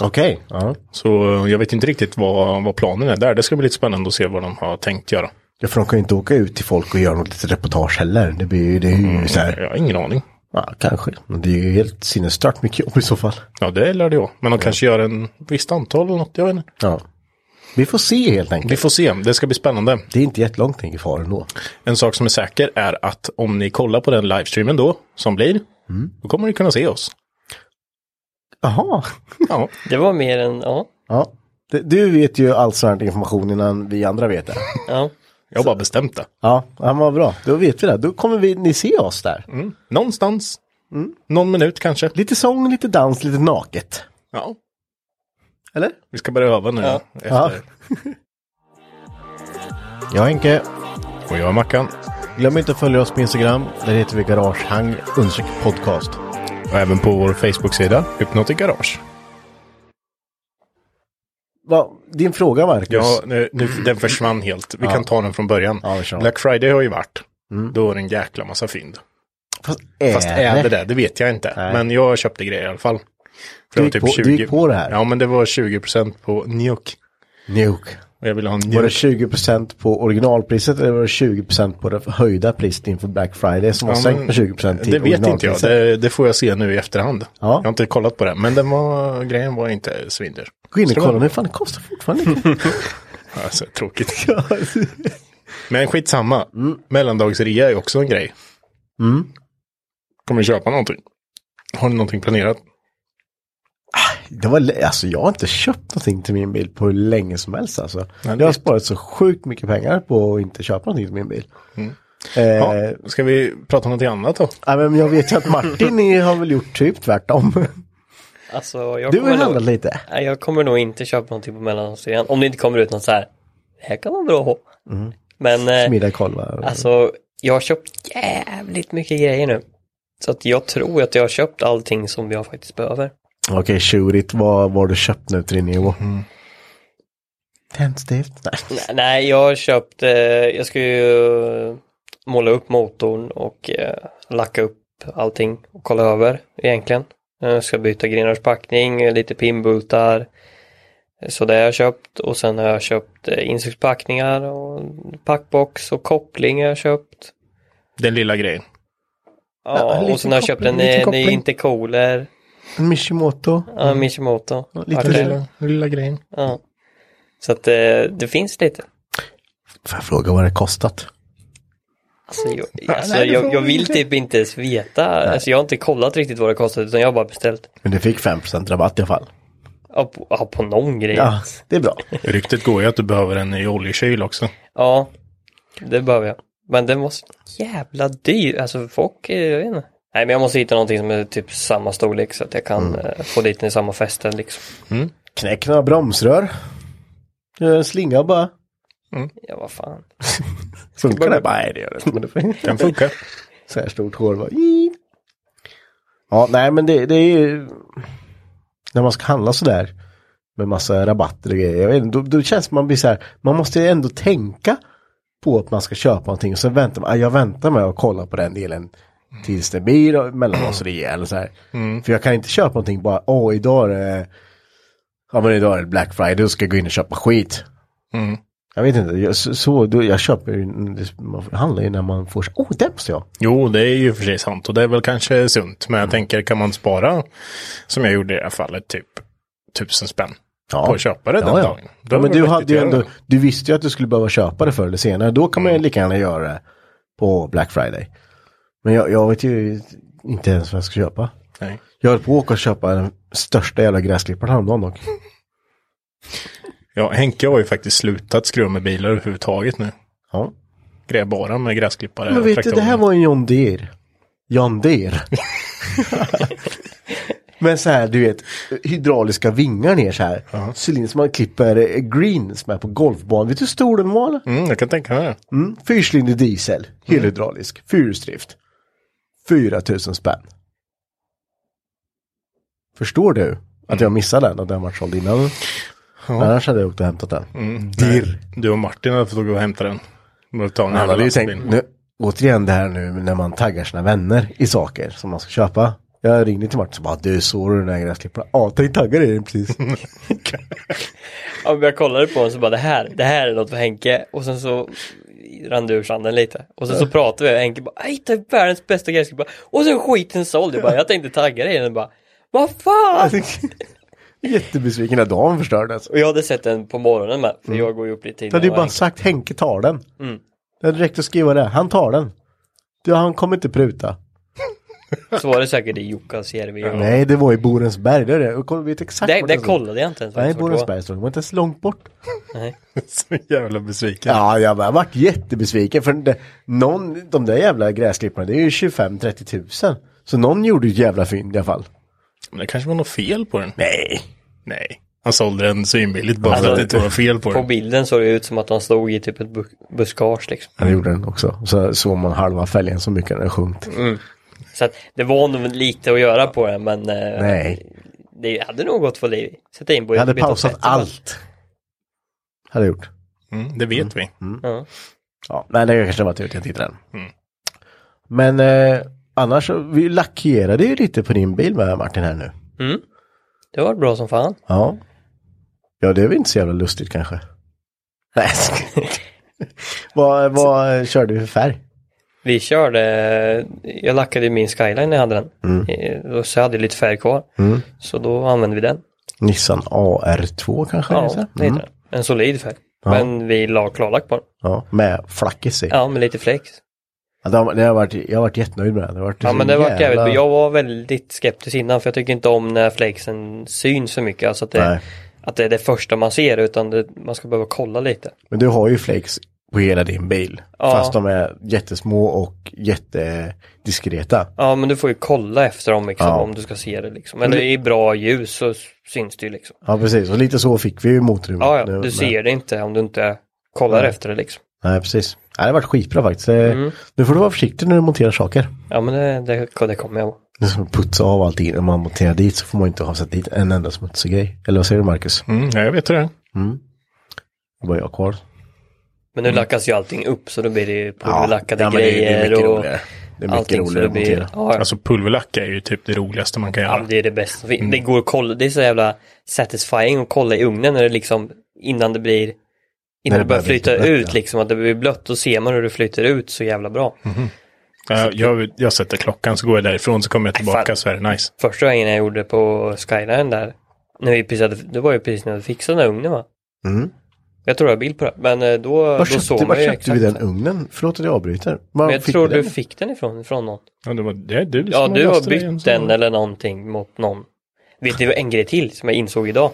[SPEAKER 1] Okej. Ja.
[SPEAKER 2] Så eh, jag vet inte riktigt vad, vad planen är där. Det ska bli lite spännande att se vad de har tänkt göra.
[SPEAKER 1] Ja, för de kan ju inte åka ut till folk och göra något litet reportage heller. Det blir ju, det är ju så här,
[SPEAKER 2] Jag har ingen aning.
[SPEAKER 1] Mm. ja, kanske. Men det är ju helt sinnesstört mycket jobb i så fall.
[SPEAKER 2] Ja, det lär det vara. Men de kanske gör en visst antal eller något. Jag vet inte.
[SPEAKER 1] Ja. Vi får se helt enkelt.
[SPEAKER 2] Vi får se. Det ska bli spännande.
[SPEAKER 1] Det är inte jättelångt till kvar ändå.
[SPEAKER 2] En sak som är säker är att om ni kollar på den livestreamen då, som blir,
[SPEAKER 1] Mm.
[SPEAKER 2] då kommer ni kunna se oss.
[SPEAKER 1] Jaha.
[SPEAKER 2] Ja,
[SPEAKER 5] Det var mer än, ja.
[SPEAKER 1] Ja. Det- Du vet ju all sån här information innan vi andra vet det.
[SPEAKER 5] ja.
[SPEAKER 2] jag har bara bestämt det.
[SPEAKER 1] Ja, ja vad bra. Då vet vi det. Då kommer vi, ni se oss där.
[SPEAKER 2] Mm. Någonstans.
[SPEAKER 1] Mm.
[SPEAKER 2] Någon minut kanske.
[SPEAKER 1] Lite sång, lite dans, lite naket.
[SPEAKER 2] Ja,
[SPEAKER 1] Eller?
[SPEAKER 2] vi ska börja öva nu. Efter.
[SPEAKER 1] Ja. Jag är Henke.
[SPEAKER 2] Och jag är Mackan.
[SPEAKER 1] Glöm inte att följa oss på Instagram. Där heter vi Garagehang podcast.
[SPEAKER 2] Och även på vår Facebook-sida, Hypnotic Garage.
[SPEAKER 1] Va, din fråga Marcus.
[SPEAKER 2] Ja, nu, nu, den försvann helt. Vi kan ta den från början.
[SPEAKER 1] Ja, vi kör.
[SPEAKER 2] Black Friday har ju varit. Då är det en jäkla massa fynd.
[SPEAKER 1] Fast är,
[SPEAKER 2] Fast är det det? Det vet jag inte.
[SPEAKER 1] Nej.
[SPEAKER 2] Men jag köpte grejer i alla fall. För typ
[SPEAKER 1] Du gick på- du gick på det här?
[SPEAKER 2] Ja, men det var 20% på Njuk.
[SPEAKER 1] Nuke.
[SPEAKER 2] Och jag ville ha en
[SPEAKER 1] Var det
[SPEAKER 2] Njuk.
[SPEAKER 1] 20% på originalpriset eller var det 20% på det höjda priset inför Black Friday som var
[SPEAKER 2] Ja,
[SPEAKER 1] sänkt
[SPEAKER 2] men
[SPEAKER 1] med 20% till
[SPEAKER 2] Det vet inte jag.
[SPEAKER 1] originalpriset?
[SPEAKER 2] Det, det får jag se nu i efterhand.
[SPEAKER 1] Ja.
[SPEAKER 2] Jag har inte kollat på det. Men den var, grejen var inte svindyr.
[SPEAKER 1] Gå in och
[SPEAKER 2] Så det
[SPEAKER 1] kolla
[SPEAKER 2] var-
[SPEAKER 1] nu, fan det kostar fortfarande inte.
[SPEAKER 2] Alltså, tråkigt. Men skitsamma. Mellandagsrea är också en grej.
[SPEAKER 1] Mm.
[SPEAKER 2] Kommer du köpa någonting? Har du någonting planerat?
[SPEAKER 1] det var, lä- alltså jag har inte köpt någonting till min bil på hur länge som helst alltså.
[SPEAKER 2] Nej,
[SPEAKER 1] jag har
[SPEAKER 2] det-
[SPEAKER 1] sparat så sjukt mycket pengar på att inte köpa någonting till min bil.
[SPEAKER 2] Ja,
[SPEAKER 1] Eh,
[SPEAKER 2] ska vi prata om någonting annat då?
[SPEAKER 1] ja. men jag vet ju att Martin ni har väl gjort typ tvärtom.
[SPEAKER 5] Alltså, jag
[SPEAKER 1] Du har
[SPEAKER 5] kommer
[SPEAKER 1] ju
[SPEAKER 5] nog-
[SPEAKER 1] handlat lite.
[SPEAKER 5] Nej, jag kommer nog inte köpa någonting på mellandagsrean. Om det inte kommer ut något så här, det här kan vara bra att ha. Men eh,
[SPEAKER 1] Middag kolva.
[SPEAKER 5] alltså, jag har köpt jävligt mycket grejer nu. Så att jag tror att jag har köpt allting som jag faktiskt behöver.
[SPEAKER 1] Okej, tjurigt. Vad vad har du köpt nu till din Evo? Tändstift? Nej.
[SPEAKER 5] Nej, Nej, jag har köpt, eh, jag ska ju eh, måla upp motorn och eh, lacka upp allting och kolla över egentligen. Jag ska byta grenrörspackning, eh, lite pinbultar. Så det har jag köpt och sen har jag köpt eh, instruktionspackningar och packbox och koppling har jag köpt.
[SPEAKER 2] Den lilla grejen.
[SPEAKER 1] Ja, en
[SPEAKER 5] Ja,
[SPEAKER 1] liten
[SPEAKER 5] och sen har jag köpt en
[SPEAKER 1] koppling, en liten
[SPEAKER 5] eh, ny
[SPEAKER 1] koppling.
[SPEAKER 5] intercooler,
[SPEAKER 1] En Mishimoto?
[SPEAKER 5] ja, Mishimoto.
[SPEAKER 1] lite
[SPEAKER 5] Artel.
[SPEAKER 1] lilla.
[SPEAKER 2] lilla grejen.
[SPEAKER 5] Ja. Så att eh, det finns lite.
[SPEAKER 1] Får jag fråga vad det kostat?
[SPEAKER 5] Alltså, jag, alltså,
[SPEAKER 1] nej, det får
[SPEAKER 5] jag, jag
[SPEAKER 1] vi
[SPEAKER 5] vill
[SPEAKER 1] inte.
[SPEAKER 5] typ inte ens veta. Alltså, jag har inte kollat riktigt vad det kostar utan jag har bara beställt.
[SPEAKER 1] Men du fick 5% rabatt i alla fall.
[SPEAKER 5] Ja, på, ja, på någon grej. Ja.
[SPEAKER 1] Ja, det är bra.
[SPEAKER 2] Ryktet går ju att du behöver en ny oljekyl också.
[SPEAKER 5] det behöver jag. Men den var så jävla dyr. Alltså folk, eh, jag vet inte. Nej, men jag måste hitta någonting som är typ samma storlek så att jag kan
[SPEAKER 1] Mm.
[SPEAKER 5] eh, få dit den i samma fäste liksom.
[SPEAKER 1] Knäck några bromsrör. Gör En slinga bara.
[SPEAKER 5] Ja, vad fan.
[SPEAKER 1] Funkar det? Nej, det gör det inte. Men det får-
[SPEAKER 2] Den funkar.
[SPEAKER 1] Så här stort hår bara. "Ii." Ja, nej men det, det är ju när man ska handla sådär med massa rabatter och grejer. Jag vet, inte, då, då känns det som man blir så här, man måste ju ändå tänka på att man ska köpa någonting och så väntar man, ah, jag väntar med att kolla på den delen tills det blir och- mellanraseri eller så här. För jag kan inte köpa någonting bara, åh idag är det, ja men idag är det Black Friday och ska jag gå in och köpa skit.
[SPEAKER 2] Mm.
[SPEAKER 1] Jag vet inte, jag, så- så, då, jag köper ju, man handlar ju när man får, åh oh, den måste jag.
[SPEAKER 2] Jo, det är ju för sig sant och det är väl kanske sunt.
[SPEAKER 1] Mm.
[SPEAKER 2] Men jag tänker, kan man spara, som jag gjorde i det här fallet, typ tusen spänn
[SPEAKER 1] Ja.
[SPEAKER 2] på att köpa det den
[SPEAKER 1] ja.
[SPEAKER 2] dagen? Då
[SPEAKER 1] Ja,
[SPEAKER 2] är
[SPEAKER 1] men
[SPEAKER 2] det
[SPEAKER 1] du,
[SPEAKER 2] vettigt
[SPEAKER 1] hade ju
[SPEAKER 2] att göra
[SPEAKER 1] ändå,
[SPEAKER 2] det.
[SPEAKER 1] du visste ju att du skulle behöva köpa det förr eller senare. Då kan
[SPEAKER 2] Mm.
[SPEAKER 1] man ju lika gärna göra det på Black Friday. Men jag, jag vet ju inte ens vad jag ska köpa.
[SPEAKER 2] Nej.
[SPEAKER 1] Jag höll på att åka och köpa den största jävla gräsklipparen häromdagen dock.
[SPEAKER 2] Ja, Henke har ju faktiskt slutat skruva med bilar överhuvudtaget nu.
[SPEAKER 1] Ja.
[SPEAKER 2] Grejar bara med gräsklippare
[SPEAKER 1] Men
[SPEAKER 2] och
[SPEAKER 1] vet du, det
[SPEAKER 2] traktorer.
[SPEAKER 1] här var en John Deere. John Deere. Men så här, du vet, hydrauliska vingar ner så här. Cylinder som man klipper eh, green som är på golfbanan. Vet du hur stor den var? eller?
[SPEAKER 2] Mm, jag kan tänka mig det.
[SPEAKER 1] Mm. Fyrcylindrig diesel, helhydraulisk, fyrhjulsdrift. 4000 spänn. Förstår du att jag missade den och den vart såld innan? Annars hade jag åkt och hämtat den. Dirr.
[SPEAKER 2] Du och Martin hade fått gå och hämta den. Men ta en
[SPEAKER 1] Han
[SPEAKER 2] jävla
[SPEAKER 1] hade ju
[SPEAKER 2] lastbil.
[SPEAKER 1] tänkt, nu, återigen det här nu när man taggar sina vänner i saker som man ska köpa. Jag ringde till Martin och bara, du såg du den här gräsklipparen? Ja, tänk tagga dig i den precis.
[SPEAKER 5] Ja, men jag kollade på honom så bara det här, det här är något för Henke. Och sen så rann det ur sanden lite. Och sen så pratade vi och Henke bara, jag hittade världens bästa gräsklippare. Och sen skiten såld. Jag bara, jag tänkte tagga dig i den bara. Vad fan!
[SPEAKER 1] Jättebesviken när dagen förstördes.
[SPEAKER 5] Och jag hade sett den på morgonen med. För
[SPEAKER 1] Mm.
[SPEAKER 5] jag går ju upp lite
[SPEAKER 1] Du
[SPEAKER 5] innan.
[SPEAKER 1] hade ju
[SPEAKER 5] och
[SPEAKER 1] bara
[SPEAKER 5] Henke-
[SPEAKER 1] sagt Henke tar den. Det hade räckt att skriva det, han tar den. Du, han kommer inte pruta.
[SPEAKER 5] Så var det säkert i Jukkasjärvi.
[SPEAKER 1] Nej, det var i Borensberg. Det är det. Och kolla, vet exakt
[SPEAKER 5] Det,
[SPEAKER 1] vart
[SPEAKER 5] det
[SPEAKER 1] stod.
[SPEAKER 5] kollade jag inte ens.
[SPEAKER 1] Nej,
[SPEAKER 5] vart det var.
[SPEAKER 1] Borensberg stod. Det var inte ens långt bort.
[SPEAKER 2] Så jävla besviken.
[SPEAKER 1] Ja, jag har varit jättebesviken. För det, någon, de där jävla gräsklipparna, det är ju 25-30 tusen. Så någon gjorde ju ett jävla fynd i alla fall.
[SPEAKER 2] Men det kanske var något fel på den.
[SPEAKER 1] Nej.
[SPEAKER 2] Nej. Han sålde den svinbilligt bara för
[SPEAKER 5] Alltså,
[SPEAKER 2] att det inte var fel på
[SPEAKER 5] På
[SPEAKER 2] den.
[SPEAKER 5] bilden såg det ut som att han stod i typ ett bu- buskage liksom.
[SPEAKER 1] Han gjorde den också. Och Så såg man halva fälgen så mycket den hade sjunkit.
[SPEAKER 5] Så att det var nog lite att göra på den men eh,
[SPEAKER 1] Nej.
[SPEAKER 5] det hade nog gått för liv i. Sätta in på
[SPEAKER 1] Jag hade
[SPEAKER 5] betonfett,
[SPEAKER 1] pausat
[SPEAKER 5] så bara-
[SPEAKER 1] allt. Hade jag gjort.
[SPEAKER 2] Mm, det vet vi.
[SPEAKER 5] Ja.
[SPEAKER 1] Ja, nej, det kanske var tur att jag tittade den.
[SPEAKER 5] Mm.
[SPEAKER 1] Men eh, annars, så- vi lackerade ju lite på din bil med Martin här nu.
[SPEAKER 5] Det var bra som fan.
[SPEAKER 1] Ja. Ja, det är väl inte så jävla lustigt kanske. Nej. vad, vad körde vi för färg?
[SPEAKER 5] Vi körde, jag lackade ju min skyline när jag hade den.
[SPEAKER 1] Mm.
[SPEAKER 5] Eh, Och så hade jag lite färg kvar. Så då använde vi den.
[SPEAKER 1] Nissan AR2 kanske? Mm. är
[SPEAKER 5] Ja,
[SPEAKER 1] så?
[SPEAKER 5] det heter den. En solid färg. Men vi la klarlack på den.
[SPEAKER 1] ja med flackis i. Ja.
[SPEAKER 5] Ja, med lite flex.
[SPEAKER 1] det har, det har varit, jag har varit jättenöjd med den. Det har varit
[SPEAKER 5] Ja
[SPEAKER 1] så
[SPEAKER 5] men det var
[SPEAKER 1] jävla-
[SPEAKER 5] jävligt, jag var väldigt skeptisk innan för jag tycker inte om när flexen syns så mycket. Alltså att
[SPEAKER 1] Nej.
[SPEAKER 5] det, att det är det första man ser utan det, man ska behöva kolla lite.
[SPEAKER 1] Men du har ju flakes på hela din bil.
[SPEAKER 5] Ja.
[SPEAKER 1] Fast de är jättesmå och jättediskreta.
[SPEAKER 5] Ja men du får ju kolla efter dem liksom,
[SPEAKER 1] Ja.
[SPEAKER 5] om du ska se det liksom. Eller i bra ljus så s- syns det ju liksom.
[SPEAKER 1] Ja precis, och lite så fick vi ju motorrummet.
[SPEAKER 5] Ja ja,
[SPEAKER 1] nu,
[SPEAKER 5] du
[SPEAKER 1] men-
[SPEAKER 5] ser det inte om du inte kollar efter det liksom.
[SPEAKER 1] Nej precis. Nej, det har varit skitbra faktiskt. Eh,
[SPEAKER 5] Mm.
[SPEAKER 1] Nu får du vara försiktig när du monterar saker.
[SPEAKER 5] Ja men det, det, det kommer jag ihåg.
[SPEAKER 1] Nu ska man putsa av allting. Om man monterar dit så får man inte ha satt dit en enda smutsig grej. Eller vad säger du Marcus?
[SPEAKER 2] Mm, ja, jag vet hur det är.
[SPEAKER 1] Det var jag kvar.
[SPEAKER 5] Men nu lackas ju allting upp så då blir det ju pulverlackade
[SPEAKER 1] Mm. ja, men det är- det är
[SPEAKER 5] grejer
[SPEAKER 1] mycket
[SPEAKER 5] och
[SPEAKER 1] roligare. Det är mycket
[SPEAKER 5] allting. så
[SPEAKER 1] roligare
[SPEAKER 5] det
[SPEAKER 1] att
[SPEAKER 5] blir,
[SPEAKER 1] montera.
[SPEAKER 5] ja, ja.
[SPEAKER 2] Alltså pulverlack är ju typ det roligaste man kan
[SPEAKER 5] Ja,
[SPEAKER 2] göra.
[SPEAKER 5] det är det bästa som finns.
[SPEAKER 1] Mm.
[SPEAKER 5] Det går att kolla, det är så jävla satisfying att kolla i ugnen när det liksom innan det blir
[SPEAKER 1] När
[SPEAKER 5] Innan
[SPEAKER 1] det
[SPEAKER 5] det börjar
[SPEAKER 1] börjar bli
[SPEAKER 5] flyta
[SPEAKER 1] lite blött,
[SPEAKER 5] ut
[SPEAKER 1] ja. Mm.
[SPEAKER 5] liksom, att det blir blött, då ser man hur det flyter ut så jävla bra.
[SPEAKER 2] Ja, jag, jag sätter klockan så går jag därifrån så kommer jag tillbaka
[SPEAKER 5] fan.
[SPEAKER 2] så är det nice.
[SPEAKER 5] Första gången jag gjorde på Skyline där, när vi precis hade, det var ju precis när vi fixade den här ugnen va?
[SPEAKER 1] Mm.
[SPEAKER 5] Jag tror jag har bild på det, men eh, då,
[SPEAKER 1] Var
[SPEAKER 5] då såg
[SPEAKER 1] köpte,
[SPEAKER 5] man
[SPEAKER 1] var
[SPEAKER 5] ju
[SPEAKER 1] köpte
[SPEAKER 5] exakt.
[SPEAKER 1] vi den ugnen? Förlåt att jag avbryter. Var
[SPEAKER 5] Men jag
[SPEAKER 1] fick
[SPEAKER 5] tror
[SPEAKER 1] vi
[SPEAKER 5] du
[SPEAKER 1] den?
[SPEAKER 5] fick den ifrån, från någon.
[SPEAKER 2] Ja, det var, det, det är som
[SPEAKER 5] Ja,
[SPEAKER 2] jag
[SPEAKER 5] du har
[SPEAKER 2] löste det igen,
[SPEAKER 5] bytt
[SPEAKER 2] så-
[SPEAKER 5] den eller någonting mot någon. Vet du en grej till som jag insåg idag?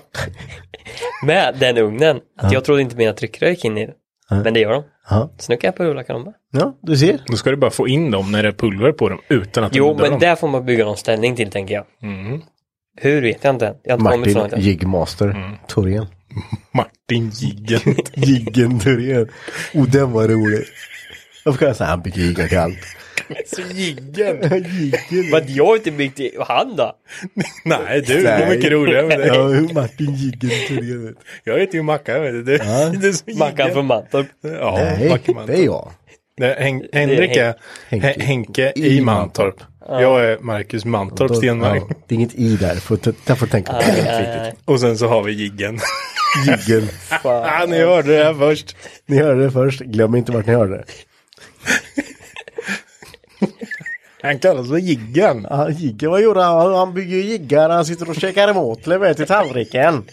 [SPEAKER 5] med den ugnen. Att jag trodde inte mina tryckrör gick in i den. Men det gör de.
[SPEAKER 1] Ja.
[SPEAKER 5] Så nu kan jag pulverlacka dem med.
[SPEAKER 1] Ja, du ser.
[SPEAKER 2] Då ska du bara få in dem när det är pulver på dem utan att
[SPEAKER 5] Jo,
[SPEAKER 2] nuddar
[SPEAKER 5] men
[SPEAKER 2] dem.
[SPEAKER 5] där får man bygga någon ställning till tänker jag. Hur vet jag inte än. Jag har inte kommit så långt
[SPEAKER 1] Martin
[SPEAKER 5] än.
[SPEAKER 1] Jigmaster Thorén.
[SPEAKER 2] Martin Jiggen.
[SPEAKER 1] Jiggen Thorén. Oh, den var rolig. Varför kan jag säga han fick jigga till allt?
[SPEAKER 2] Så jiggen.
[SPEAKER 5] Men jag är inte byggt i och han då?
[SPEAKER 2] Nej, du. Det var mycket roligare med
[SPEAKER 1] Ja,
[SPEAKER 2] dig.
[SPEAKER 1] hur Martin Jiggen Thorén. vet du.
[SPEAKER 2] Jag heter ju Mackan, vet du. Du, du är så jiggen.
[SPEAKER 5] Mackan från Mantorp.
[SPEAKER 2] Ja,
[SPEAKER 1] Nej,
[SPEAKER 2] Mackan Mantorp.
[SPEAKER 1] det är jag.
[SPEAKER 2] Nej, Hen Henrik är
[SPEAKER 1] Henke.
[SPEAKER 2] Henke, Henke i Mantorp. Jag är Marcus Mantorp Stenmark.
[SPEAKER 1] Ja, det är inget i där, får ta- jag får tänka på det.
[SPEAKER 5] Nej,
[SPEAKER 2] Och sen så har vi Jiggen.
[SPEAKER 1] Jiggen.
[SPEAKER 2] ah, ni hörde det här först.
[SPEAKER 1] Ni hörde det först, glöm inte vart ni hörde det.
[SPEAKER 2] Han kallas för Jiggen.
[SPEAKER 1] Ah, Jiggen, vad gjorde han? Han bygger ju jiggar, han sitter och käkar emotler med till tallriken.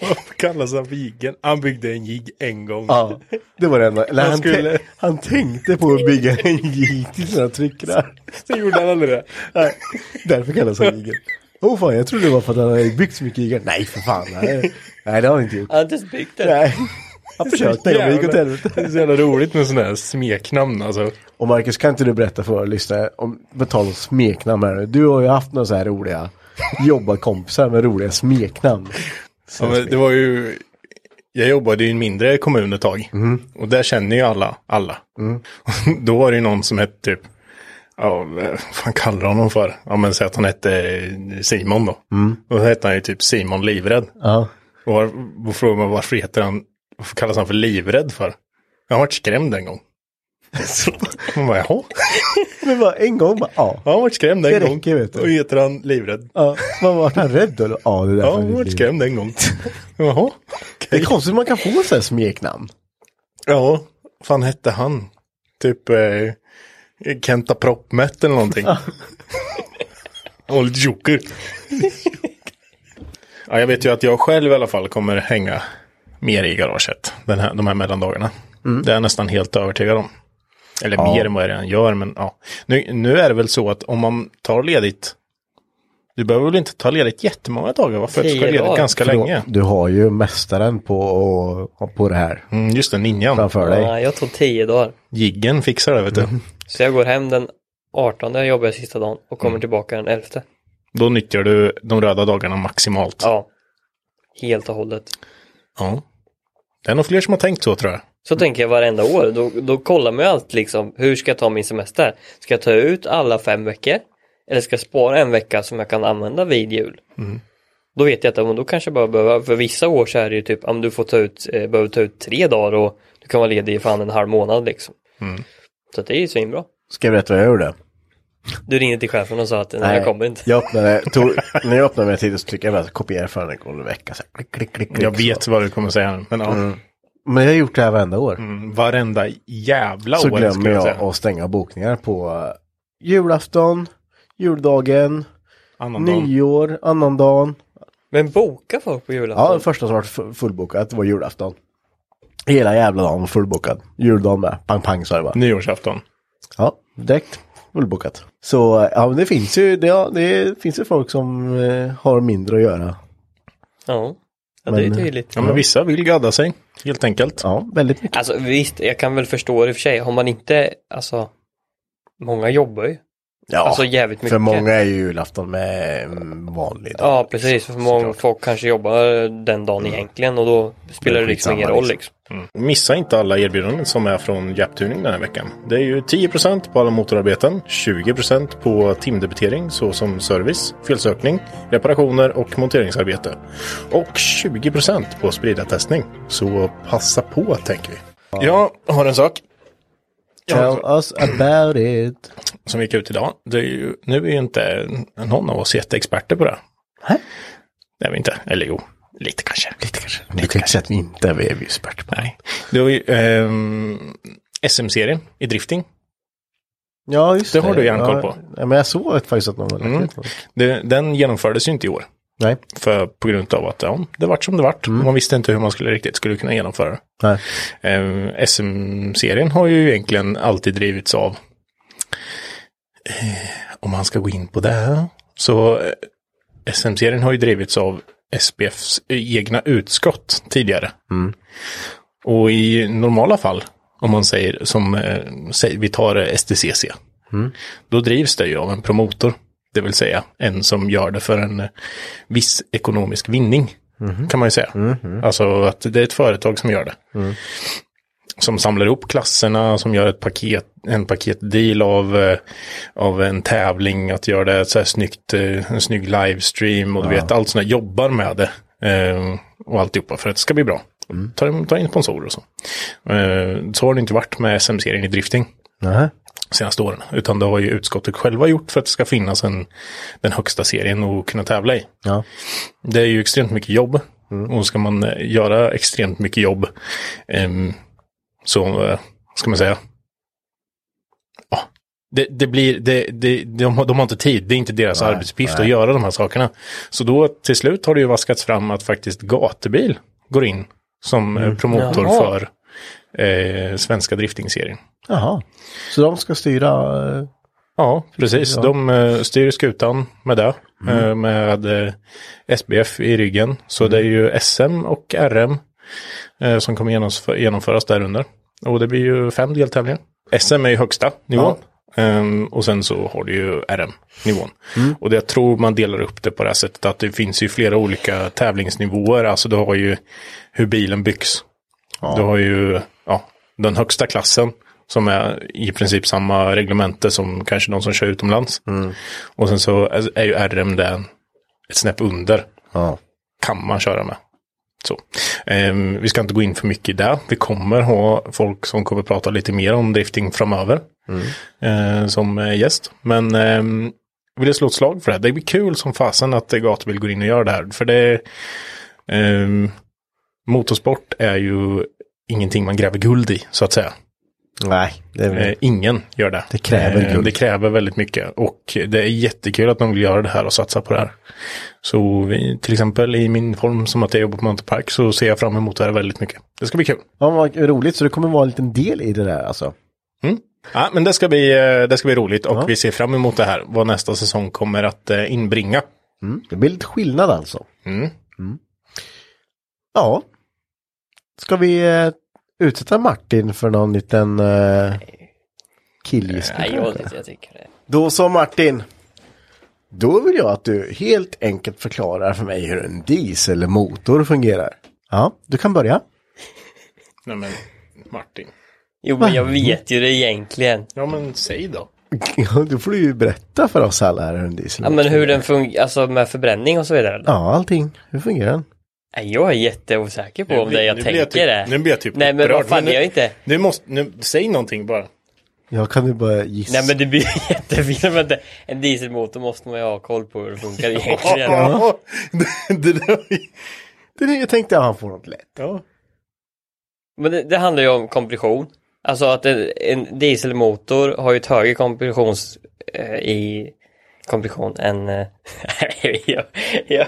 [SPEAKER 2] Varför kallas han för Jiggen? Han byggde en jigg en gång.
[SPEAKER 1] Ja, det var det enda. Eller
[SPEAKER 2] Han
[SPEAKER 1] han,
[SPEAKER 2] skulle-
[SPEAKER 1] skulle... han tänkte på att bygga en jigg till sina tryckrar.
[SPEAKER 2] Så gjorde han aldrig det.
[SPEAKER 1] Nej, därför kallas han jiggen. Åh oh, fan, jag trodde det var för att han hade byggt så mycket jiggar. Nej, för fan. Nej, nej det har han inte gjort.
[SPEAKER 5] Han har inte ens byggt den.
[SPEAKER 1] Nej. Han försökte, men det gick åt helvete.
[SPEAKER 2] Det är så jävla roligt med sådana här smeknamn alltså.
[SPEAKER 1] Och Marcus, kan inte du berätta för våra lyssnare om på tal om smeknamn här nu. Du har ju haft några så här roliga jobbarkompisar med roliga smeknamn.
[SPEAKER 2] Ja, men det var ju, jag jobbade i en mindre kommun ett tag.
[SPEAKER 1] Mhm.
[SPEAKER 2] Och där känner ju alla, alla.
[SPEAKER 1] Mm.
[SPEAKER 2] Och då var det ju någon som hette typ, ja, vad fan kallar de honom för? Ja, men säg att han hette Simon då.
[SPEAKER 1] Mm.
[SPEAKER 2] Och då hette han ju typ Simon Livrädd.
[SPEAKER 1] Ja.
[SPEAKER 2] Och var, då frågade man varför heter han, varför kallas han för Livrädd för? Han vart skrämd en gång. Så, man bara, jaha?
[SPEAKER 1] Men bara en gång bara, ja.
[SPEAKER 2] Ja, han vart skrämd en
[SPEAKER 1] Det
[SPEAKER 2] gång.
[SPEAKER 1] räcker, vet du.
[SPEAKER 2] Och heter han Livrädd.
[SPEAKER 1] ja. Man var han rädd då? Ja, det där
[SPEAKER 2] Ja, han vart skrämd en gång. Jaha?
[SPEAKER 1] Det är konstigt att man kan få så här smeknamn.
[SPEAKER 2] Ja, vad fan hette han? Typ eh, Kenta Proppmätt eller någonting. Han var lite joker. ja, jag vet ju att jag själv i alla fall kommer hänga mer i garaget den här, de här mellandagarna. Det är jag nästan helt övertygad om. Eller mer än vad jag redan gör, men ja. Nu, nu är det väl så att om man tar ledigt, du behöver väl inte ta ledigt jättemånga dagar, va? För att du ska
[SPEAKER 5] Tio
[SPEAKER 2] ha ledigt
[SPEAKER 5] dagar.
[SPEAKER 2] ganska
[SPEAKER 1] För då-
[SPEAKER 2] länge.
[SPEAKER 1] Du har ju mästaren på, och, på det här
[SPEAKER 2] Mm, just det, ninjan.
[SPEAKER 1] framför dig.
[SPEAKER 5] Nej, jag tog tio dagar.
[SPEAKER 2] Jiggen fixar det, vet du.
[SPEAKER 5] Så jag går hem den 18, jag jobbar sista dagen och kommer tillbaka den 11.
[SPEAKER 2] Då nyttjar du de röda dagarna maximalt.
[SPEAKER 5] Ja. Helt och hållet.
[SPEAKER 2] Ja. Det är nog fler som har tänkt så tror jag.
[SPEAKER 5] Så tänker jag varenda år. Då, då kollar man ju allt liksom. Hur ska jag ta min semester? Ska jag ta ut alla fem veckor? Eller ska jag spara en vecka som jag kan använda vid jul?
[SPEAKER 1] Mm.
[SPEAKER 5] Då vet jag att ja, men då kanske jag bara behöver, för vissa år så är det ju typ, om du får ta ut, eh, behöver ta ut tre dagar och du kan vara ledig i fan en halv månad liksom.
[SPEAKER 1] Mm.
[SPEAKER 5] Så att det är ju svinbra.
[SPEAKER 1] Ska jag berätta vad jag gjorde?
[SPEAKER 5] Du ringde till chefen och sa att nej, jag kommer inte.
[SPEAKER 1] Jag öppnade, tog, när jag öppnade mig tidigt så tyckte jag att kopiera för en gång i veckan. Så här, klick, klick, klick, klick,
[SPEAKER 2] Jag vet
[SPEAKER 1] Så.
[SPEAKER 2] vad du kommer säga nu. Men ja,
[SPEAKER 1] Men jag har gjort det här varenda år.
[SPEAKER 2] Mm, varenda jävla
[SPEAKER 1] så
[SPEAKER 2] år
[SPEAKER 1] glömmer
[SPEAKER 2] skulle jag
[SPEAKER 1] jag,
[SPEAKER 2] säga.
[SPEAKER 1] att stänga bokningar på eh, julafton, juldagen,
[SPEAKER 2] Annandagen.
[SPEAKER 1] nyår, annandagen.
[SPEAKER 5] Men boka folk på
[SPEAKER 1] Ja,
[SPEAKER 5] julafton.
[SPEAKER 1] det första som var fu- fullbokat var julafton. Hela jävla dagen var fullbokad. Juldagen med. Pang pang sa det
[SPEAKER 2] Mm.
[SPEAKER 1] bara.
[SPEAKER 2] Nyårsafton.
[SPEAKER 1] Ja, direkt fullbokat. Så eh, ja, men det finns ju, det, ja, det finns ju folk som eh, har mindre att göra.
[SPEAKER 5] Ja, ja det är
[SPEAKER 1] Men- eh,
[SPEAKER 5] tydligt.
[SPEAKER 2] Ja, men vissa vill gadda sig. Helt enkelt.
[SPEAKER 1] Ja, väldigt mycket.
[SPEAKER 5] Alltså visst, jag kan väl förstå det i och för sig. Har man inte, alltså, många jobbar ju.
[SPEAKER 1] Ja,
[SPEAKER 5] alltså jävligt mycket.
[SPEAKER 1] för många är ju julafton med mm, vanlig dag.
[SPEAKER 5] Ja, precis. För många
[SPEAKER 1] såklart.
[SPEAKER 5] folk kanske jobbar den dagen
[SPEAKER 2] Mm.
[SPEAKER 5] egentligen och då spelar det
[SPEAKER 1] skitsamma,
[SPEAKER 5] liksom ingen roll
[SPEAKER 1] liksom.
[SPEAKER 5] liksom.
[SPEAKER 2] Missa inte alla erbjudanden som är från Japtuning den här veckan. Det är ju 10% på alla motorarbeten, 20% på timdebitering såsom service, felsökning, reparationer och monteringsarbete. Och 20% på spridartestning. Så passa på tänker vi. Jag har en sak
[SPEAKER 1] Tell us about it.
[SPEAKER 2] som gick ut idag. Det är ju, nu är ju inte någon av oss jätteexperter på det.
[SPEAKER 1] Nej.
[SPEAKER 2] Det är vi inte. Eller jo, lite kanske. Lite kanske.
[SPEAKER 1] Det kanske att vi inte är, vi är ju experter på.
[SPEAKER 2] Nej. Det var ju ehm, SM-serien i drifting.
[SPEAKER 1] Ja, just
[SPEAKER 2] Det
[SPEAKER 1] det.
[SPEAKER 2] har du järnkoll på.
[SPEAKER 1] Ja, nej, men jag såg att faktiskt att någon hade lagt ut något.
[SPEAKER 2] Det, den genomfördes ju inte i år.
[SPEAKER 1] Nej.
[SPEAKER 2] För, på grund av att ja, det vart som det vart.
[SPEAKER 1] Mm.
[SPEAKER 2] Man visste inte hur man skulle riktigt skulle kunna genomföra det.
[SPEAKER 1] nej.
[SPEAKER 2] Ehm, SM-serien har ju egentligen alltid drivits av, eh, om man ska gå in på det här, så eh, SM-serien har ju drivits av SPFs egna utskott tidigare. Och i normala fall, om man säger som, eh, säg, vi tar eh, STCC, då drivs det ju av en promotor. Det vill säga en som gör det för en eh, viss ekonomisk vinning. Kan man ju säga. Alltså att det är ett företag som gör det. som samlar ihop klasserna, som gör ett paket, en paketdeal av, eh, av en tävling, att göra det så här snyggt, eh, en snygg livestream och du vet, allt sånt där, jobbar med det. Eh, och alltihopa för att det ska bli bra. Ta, ta in sponsorer och så. Eh, så har det inte varit med SM-serien i drifting
[SPEAKER 1] Nej.
[SPEAKER 2] senaste åren. Utan det har ju utskottet själva gjort för att det ska finnas en, den högsta serien att kunna tävla i.
[SPEAKER 1] Ja.
[SPEAKER 2] Det är ju extremt mycket jobb. Och ska man eh, göra extremt mycket jobb ehm, så, eh, ska man säga, ja, det, det blir, det, det, de, har- de har inte tid, det är inte deras arbetsuppgift att göra de här sakerna. Så då till slut har det ju vaskats fram att faktiskt gatubil går in som eh, promotor
[SPEAKER 5] Jaha.
[SPEAKER 2] för eh, svenska driftingserien.
[SPEAKER 1] Jaha. Så de ska styra... eh,
[SPEAKER 2] Ja, precis. De eh, styr skutan med det. eh, Med eh, SBF i ryggen. Så det är ju SM och RM eh, som kommer genomf- genomföras där under. Och det blir ju fem deltävlingar. SM är ju högsta nivån. Ehm, och sen så har du ju RM-nivån. Och det, jag tror man delar upp det på det här sättet att det finns ju flera olika tävlingsnivåer. Alltså du har ju hur bilen byggs. Du har ju ja, den högsta klassen som är i princip samma reglemente som kanske de som kör utomlands. Och sen så är- är ju RM den ett snäpp under.
[SPEAKER 1] Ja.
[SPEAKER 2] Kan man köra med. Så. Ehm, vi ska inte gå in för mycket i det. Vi kommer ha folk som kommer prata lite mer om drifting framöver. eh, som eh, gäst. Men ehm, vill jag slå ett slag för det här. Det blir kul som fasen att eh, Gatubil går in och gör det här. För det ehm, motorsport är ju ingenting man gräver guld i så att säga.
[SPEAKER 1] Nej, det är väl...
[SPEAKER 2] Eh, ingen gör det.
[SPEAKER 1] Mm.
[SPEAKER 2] Eh,
[SPEAKER 1] Det kräver guld.
[SPEAKER 2] Det kräver väldigt mycket. Och det är jättekul att de vill göra det här och satsa på det här. Så vi, till exempel i min form som att jag jobbar på Mountain Park så ser jag fram emot det här väldigt mycket. Det ska bli kul.
[SPEAKER 1] Ja, vad roligt. Så det kommer vara en liten del i det där alltså.
[SPEAKER 2] Mm. Ja, men det ska bli, eh, det ska bli roligt och vi ser fram emot det här. Vad nästa säsong kommer att eh, inbringa.
[SPEAKER 1] Mm. Det blir lite skillnad alltså.
[SPEAKER 2] Mm.
[SPEAKER 1] Ja. Ska vi eh, utsätta Martin för någon liten eh, killgissning?
[SPEAKER 5] Nej, jag, jag tycker det.
[SPEAKER 1] Då så Martin. Då vill jag att du helt enkelt förklarar för mig hur en dieselmotor fungerar. Ja, du kan börja.
[SPEAKER 2] Nej men Martin.
[SPEAKER 5] Jo, men jag vet ju det egentligen.
[SPEAKER 2] Ja men säg då.
[SPEAKER 1] Ja, Då får du ju berätta för oss alla här hur en
[SPEAKER 5] Ja,
[SPEAKER 1] dieselmotor
[SPEAKER 5] men hur den fungerar, alltså med förbränning och så vidare.
[SPEAKER 1] Ja, allting. Hur fungerar den?
[SPEAKER 5] Nej, jag är jätteosäker på om det jag
[SPEAKER 2] Nu blir
[SPEAKER 5] tänker
[SPEAKER 2] typ,
[SPEAKER 5] det.
[SPEAKER 2] Nu blir jag typ
[SPEAKER 5] Nej, men
[SPEAKER 2] upprörd,
[SPEAKER 5] vad fan,
[SPEAKER 2] nu,
[SPEAKER 5] jag är inte...
[SPEAKER 2] Nu måste, nu, säg någonting bara.
[SPEAKER 1] Jag kan ju bara gissa.
[SPEAKER 5] Nej men det blir jättefint men det, en dieselmotor måste man ju ha koll på hur det funkar egentligen.
[SPEAKER 2] Ja. Det, det där,
[SPEAKER 1] det är det jag tänkte att han får något lätt.
[SPEAKER 2] ja.
[SPEAKER 5] Men det, det handlar ju om kompression. Alltså att en, en dieselmotor har ju ett högre kompressions eh, i kompression än... Eh, jag, jag,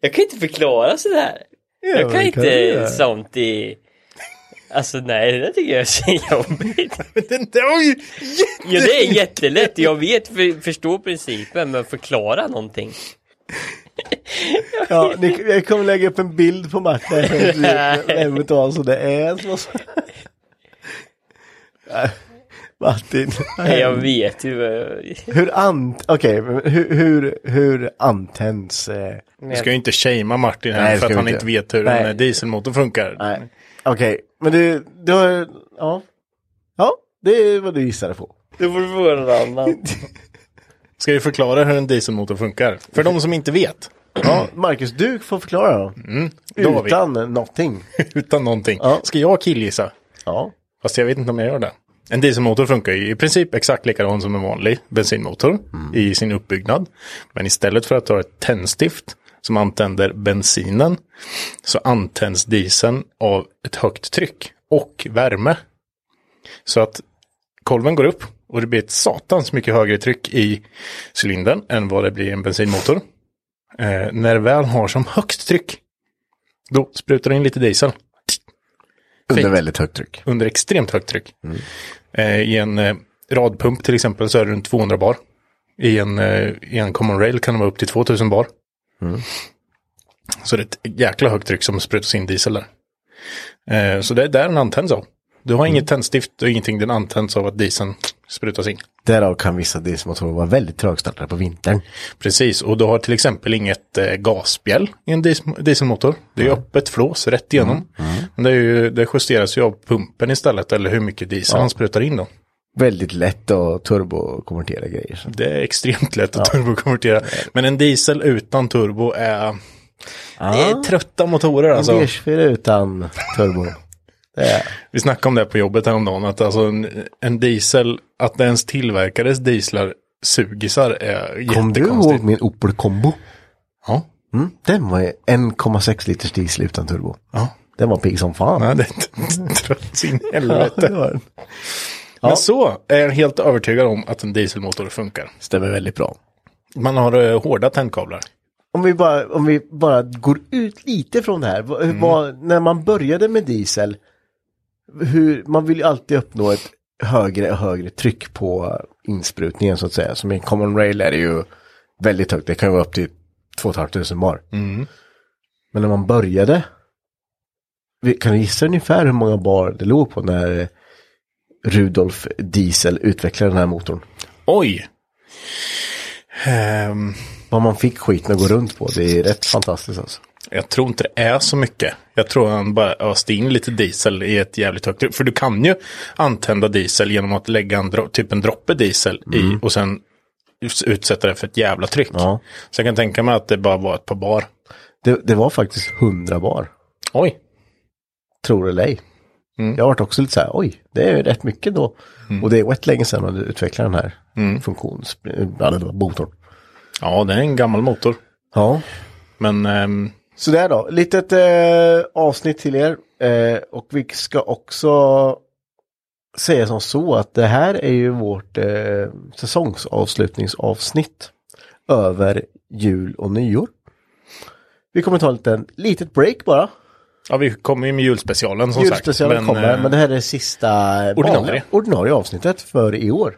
[SPEAKER 5] jag kan inte förklara sådär. jag kan
[SPEAKER 1] men
[SPEAKER 5] inte
[SPEAKER 1] kan du göra?
[SPEAKER 5] sånt i... Alltså nej, det där tycker jag är så jobbigt.
[SPEAKER 2] Men den där var ju
[SPEAKER 5] Ja, det är jättelätt. Jag vet, för, förstår principen, men förklara någonting.
[SPEAKER 1] Ja, ni, jag kommer lägga upp en bild på Martin. Vem av så det är. som har så- Nej, Martin.
[SPEAKER 5] Nej, jag vet ju. eh,
[SPEAKER 1] Hur ant... Okej, men hur, hur, hur antänds... Eh...
[SPEAKER 2] Du ska ju inte shamea Martin här
[SPEAKER 1] Nej, det ska
[SPEAKER 2] för att
[SPEAKER 1] vi
[SPEAKER 2] han
[SPEAKER 1] inte.
[SPEAKER 2] inte vet hur
[SPEAKER 1] Nej.
[SPEAKER 2] en dieselmotor funkar.
[SPEAKER 1] Nej. Okej, men du, du har... Ja. Ja, det är vad du gissade på.
[SPEAKER 5] Du får fråga någon annan.
[SPEAKER 2] Ska vi förklara hur en dieselmotor funkar? För de som inte vet.
[SPEAKER 1] Ja, Marcus, du får förklara då.
[SPEAKER 2] Mm, David.
[SPEAKER 1] Utan någonting.
[SPEAKER 2] Utan någonting.
[SPEAKER 1] Ja.
[SPEAKER 2] Ska jag killgissa?
[SPEAKER 1] Ja.
[SPEAKER 2] Fast jag vet inte om jag gör det. En dieselmotor funkar ju i princip exakt likadan som en vanlig bensinmotor i sin uppbyggnad. Men istället för att ha ett tändstift som antänder bensinen så antänds dieseln av ett högt tryck och värme. Så att kolven går upp och det blir ett satans mycket högre tryck i cylindern än vad det blir i en bensinmotor. Eh, när det väl har som högst tryck då sprutar det in lite diesel
[SPEAKER 1] Under
[SPEAKER 2] Fint.
[SPEAKER 1] väldigt högt tryck.
[SPEAKER 2] under extremt högt tryck. Eh, I en eh, radpump till exempel så är det runt 200 bar. I en, eh, I en common rail kan det vara upp till 2000 bar. Så det är ett jäkla högt tryck som sprutas in diesel där. Eh, så det är där den antänds av. Du har inget tändstift och ingenting, den antänds av att dieseln sprutas in.
[SPEAKER 1] Därav kan vissa dieselmotorer vara väldigt trögstartade på vintern.
[SPEAKER 2] Precis, och du har till exempel inget eh, gasspjäll i en diesel- dieselmotor. Det är öppet flås rätt igenom. Men det, är ju, det justeras ju av pumpen istället, eller hur mycket diesel han sprutar in då.
[SPEAKER 1] Väldigt lätt att turbokonvertera grejer. så.
[SPEAKER 2] Det är extremt lätt att turbokonvertera. Men en diesel utan turbo är... Det är trötta motorer
[SPEAKER 1] En
[SPEAKER 2] alltså.
[SPEAKER 1] V24 utan turbo.
[SPEAKER 2] Vi snackade om det på jobbet häromdagen, att alltså en, en diesel, att det ens tillverkades dieslar sugisar är
[SPEAKER 1] Kom du
[SPEAKER 2] jättekonstigt.
[SPEAKER 1] ihåg min Opel Combo?
[SPEAKER 2] Ja.
[SPEAKER 1] Mm, den var ju 1,6 liters diesel utan turbo.
[SPEAKER 2] Ja.
[SPEAKER 1] Den var pigg som fan.
[SPEAKER 2] Nej, det är trött sin
[SPEAKER 1] Ja,
[SPEAKER 2] helvete.
[SPEAKER 1] det var den.
[SPEAKER 2] Men så är jag helt övertygad om att en dieselmotor funkar.
[SPEAKER 1] Stämmer väldigt bra.
[SPEAKER 2] Man har eh, hårda tändkablar.
[SPEAKER 1] Om vi, bara, om vi bara går ut lite från det här. Vad- hur var- när man började med diesel, hur, man vill ju alltid uppnå ett högre och högre tryck på insprutningen så att säga. Som i en common rail är det ju väldigt högt, det kan ju vara upp till 2 500 bar. Men när man började, vi- kan du gissa ungefär hur många bar det låg på när Rudolf Diesel utvecklade den här motorn?
[SPEAKER 2] Oj! Ehm,
[SPEAKER 1] Vad man fick skiten att gå runt på, det är rätt fantastiskt alltså.
[SPEAKER 2] jag tror inte det är så mycket. Jag tror han bara öste in lite diesel i ett jävligt högt tryck. För du kan ju antända diesel genom att lägga en dro- typ en droppe diesel i och sen us- utsätta det för ett jävla tryck.
[SPEAKER 1] Mm. Ja.
[SPEAKER 2] Så jag kan tänka mig att det bara var ett par bar.
[SPEAKER 1] Det, det var faktiskt 100 bar,
[SPEAKER 2] Oj!
[SPEAKER 1] tror det eller ej. Jag har varit också lite så här, oj, det är rätt mycket då. Och det är rätt länge sedan man utvecklade den här funktions... Ja, det var motorn.
[SPEAKER 2] Ja, det är en gammal motor.
[SPEAKER 1] Ja.
[SPEAKER 2] Men ehm,
[SPEAKER 1] Så där då, litet eh, avsnitt till er. Eh, och vi ska också säga som så att det här är ju vårt eh, säsongsavslutningsavsnitt över jul och nyår. Vi kommer ta en liten, litet break bara.
[SPEAKER 2] ja, vi kommer ju med julspecialen som
[SPEAKER 1] Julspecialen
[SPEAKER 2] sagt.
[SPEAKER 1] kommer,
[SPEAKER 2] eh,
[SPEAKER 1] men det här är det sista
[SPEAKER 2] ordinarie. Mm.
[SPEAKER 1] vanliga- ordinarie avsnittet för i år.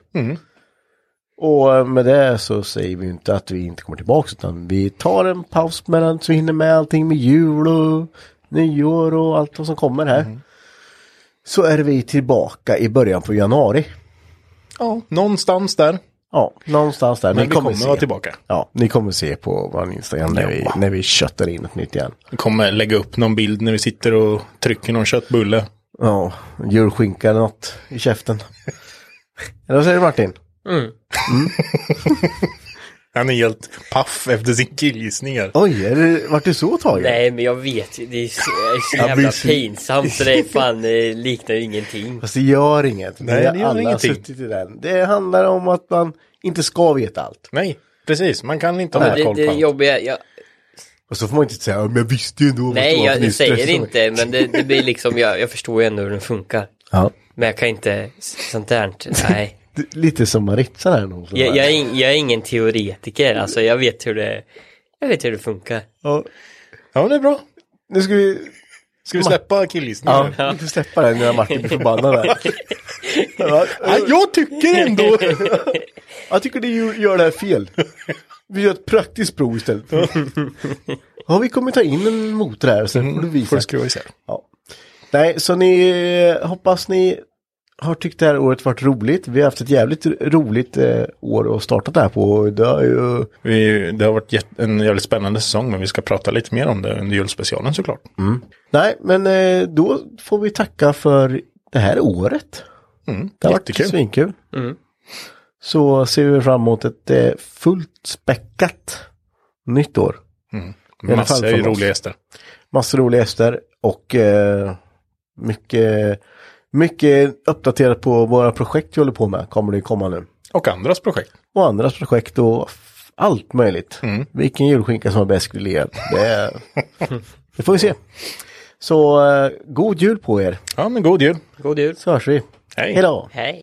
[SPEAKER 1] Och eh, med det så säger vi ju inte att vi inte kommer tillbaka utan vi tar en paus mellan så vi hinner med allting med jul och nyår och allt vad som kommer här.
[SPEAKER 2] Mm.
[SPEAKER 1] Så är vi tillbaka i början på januari.
[SPEAKER 2] Ja, någonstans där.
[SPEAKER 1] Ja, någonstans där.
[SPEAKER 2] Men vi kommer
[SPEAKER 1] se.
[SPEAKER 2] vara tillbaka.
[SPEAKER 1] Ja, ni kommer se på vår Instagram när vi,
[SPEAKER 2] Ja.
[SPEAKER 1] när vi köttar in ett nytt igen.
[SPEAKER 2] Vi kommer lägga upp någon bild när vi sitter och trycker någon köttbulle.
[SPEAKER 1] Ja, julskinka eller något i käften. Eller vad säger du Martin?
[SPEAKER 2] Han är helt paff efter sin killgissning här.
[SPEAKER 1] Oj, är det, vart du så tagen?
[SPEAKER 5] Nej men jag vet ju, det är så, det är så
[SPEAKER 1] Jag blir
[SPEAKER 5] jävla
[SPEAKER 1] så-
[SPEAKER 5] pinsamt så det är fan eh, liknar ju ingenting.
[SPEAKER 1] Fast det gör inget.
[SPEAKER 2] Nej,
[SPEAKER 1] Vi har
[SPEAKER 2] det gör
[SPEAKER 1] alla
[SPEAKER 2] ingenting.
[SPEAKER 1] suttit i den. Det handlar om att man inte ska veta allt.
[SPEAKER 2] Nej, precis. Man kan inte
[SPEAKER 5] Men
[SPEAKER 2] ha
[SPEAKER 5] det,
[SPEAKER 2] koll
[SPEAKER 5] det
[SPEAKER 2] på allt.
[SPEAKER 5] jobbiga, jag,
[SPEAKER 1] Och så får man inte säga, "Ja, men jag visste ju ändå. vad det
[SPEAKER 5] nej
[SPEAKER 1] var för
[SPEAKER 5] jag,
[SPEAKER 1] nytt."
[SPEAKER 5] säger inte men det, det blir liksom, jag, jag förstår ju ändå hur den funkar.
[SPEAKER 1] Ja.
[SPEAKER 5] Men jag kan inte, sånt där, nej.
[SPEAKER 1] Det- Lite som Maritza där. Någon som
[SPEAKER 5] Jag,
[SPEAKER 1] bara-
[SPEAKER 5] jag, är, ing- jag är ingen teoretiker, alltså jag vet hur det, jag vet hur det funkar.
[SPEAKER 1] Ja.
[SPEAKER 2] Ja, men det är bra.
[SPEAKER 1] Nu ska vi...
[SPEAKER 2] Ska vi släppa killgissningen?
[SPEAKER 1] Ja,
[SPEAKER 2] nu?
[SPEAKER 1] vi får släppa den innan Martin blir förbannad där. Ja, eh,
[SPEAKER 2] Nej, jag tycker ändå...
[SPEAKER 1] Jag tycker ni gör det här fel. Vi gör ett praktiskt prov istället. Ja, vi kommer ta in en motor här och sen får du
[SPEAKER 2] Får
[SPEAKER 1] visa.
[SPEAKER 2] du skruva isär.
[SPEAKER 1] Ja. Nej, så ni eh, hoppas ni har tyckt det här året varit roligt. Vi har haft ett jävligt ro- roligt eh, år och startat det här på. Det har ju...
[SPEAKER 2] Vi, det har varit jätte- en jävligt spännande säsong, men vi ska prata lite mer om det under julspecialen såklart.
[SPEAKER 1] Nej, men eh, då får vi tacka för det här året. det har
[SPEAKER 2] Mm, jättekul.
[SPEAKER 1] varit svinkul. Så ser vi fram emot ett eh, fullt späckat nytt år. I alla fall
[SPEAKER 2] Massor
[SPEAKER 1] från
[SPEAKER 2] av
[SPEAKER 1] oss.
[SPEAKER 2] roliga gäster.
[SPEAKER 1] Massor roliga gäster och eh, mycket, mycket uppdaterat på våra projekt vi håller på med kommer det komma nu.
[SPEAKER 2] Och andras projekt.
[SPEAKER 1] och andras projekt och f- allt möjligt. Vilken julskinka som är bäst grillerad. Det, det får vi se. Så eh, god jul på er.
[SPEAKER 2] Ja, men god jul.
[SPEAKER 5] God jul.
[SPEAKER 1] Så hörs vi.
[SPEAKER 2] Hej.
[SPEAKER 1] Hej då.
[SPEAKER 5] Hej.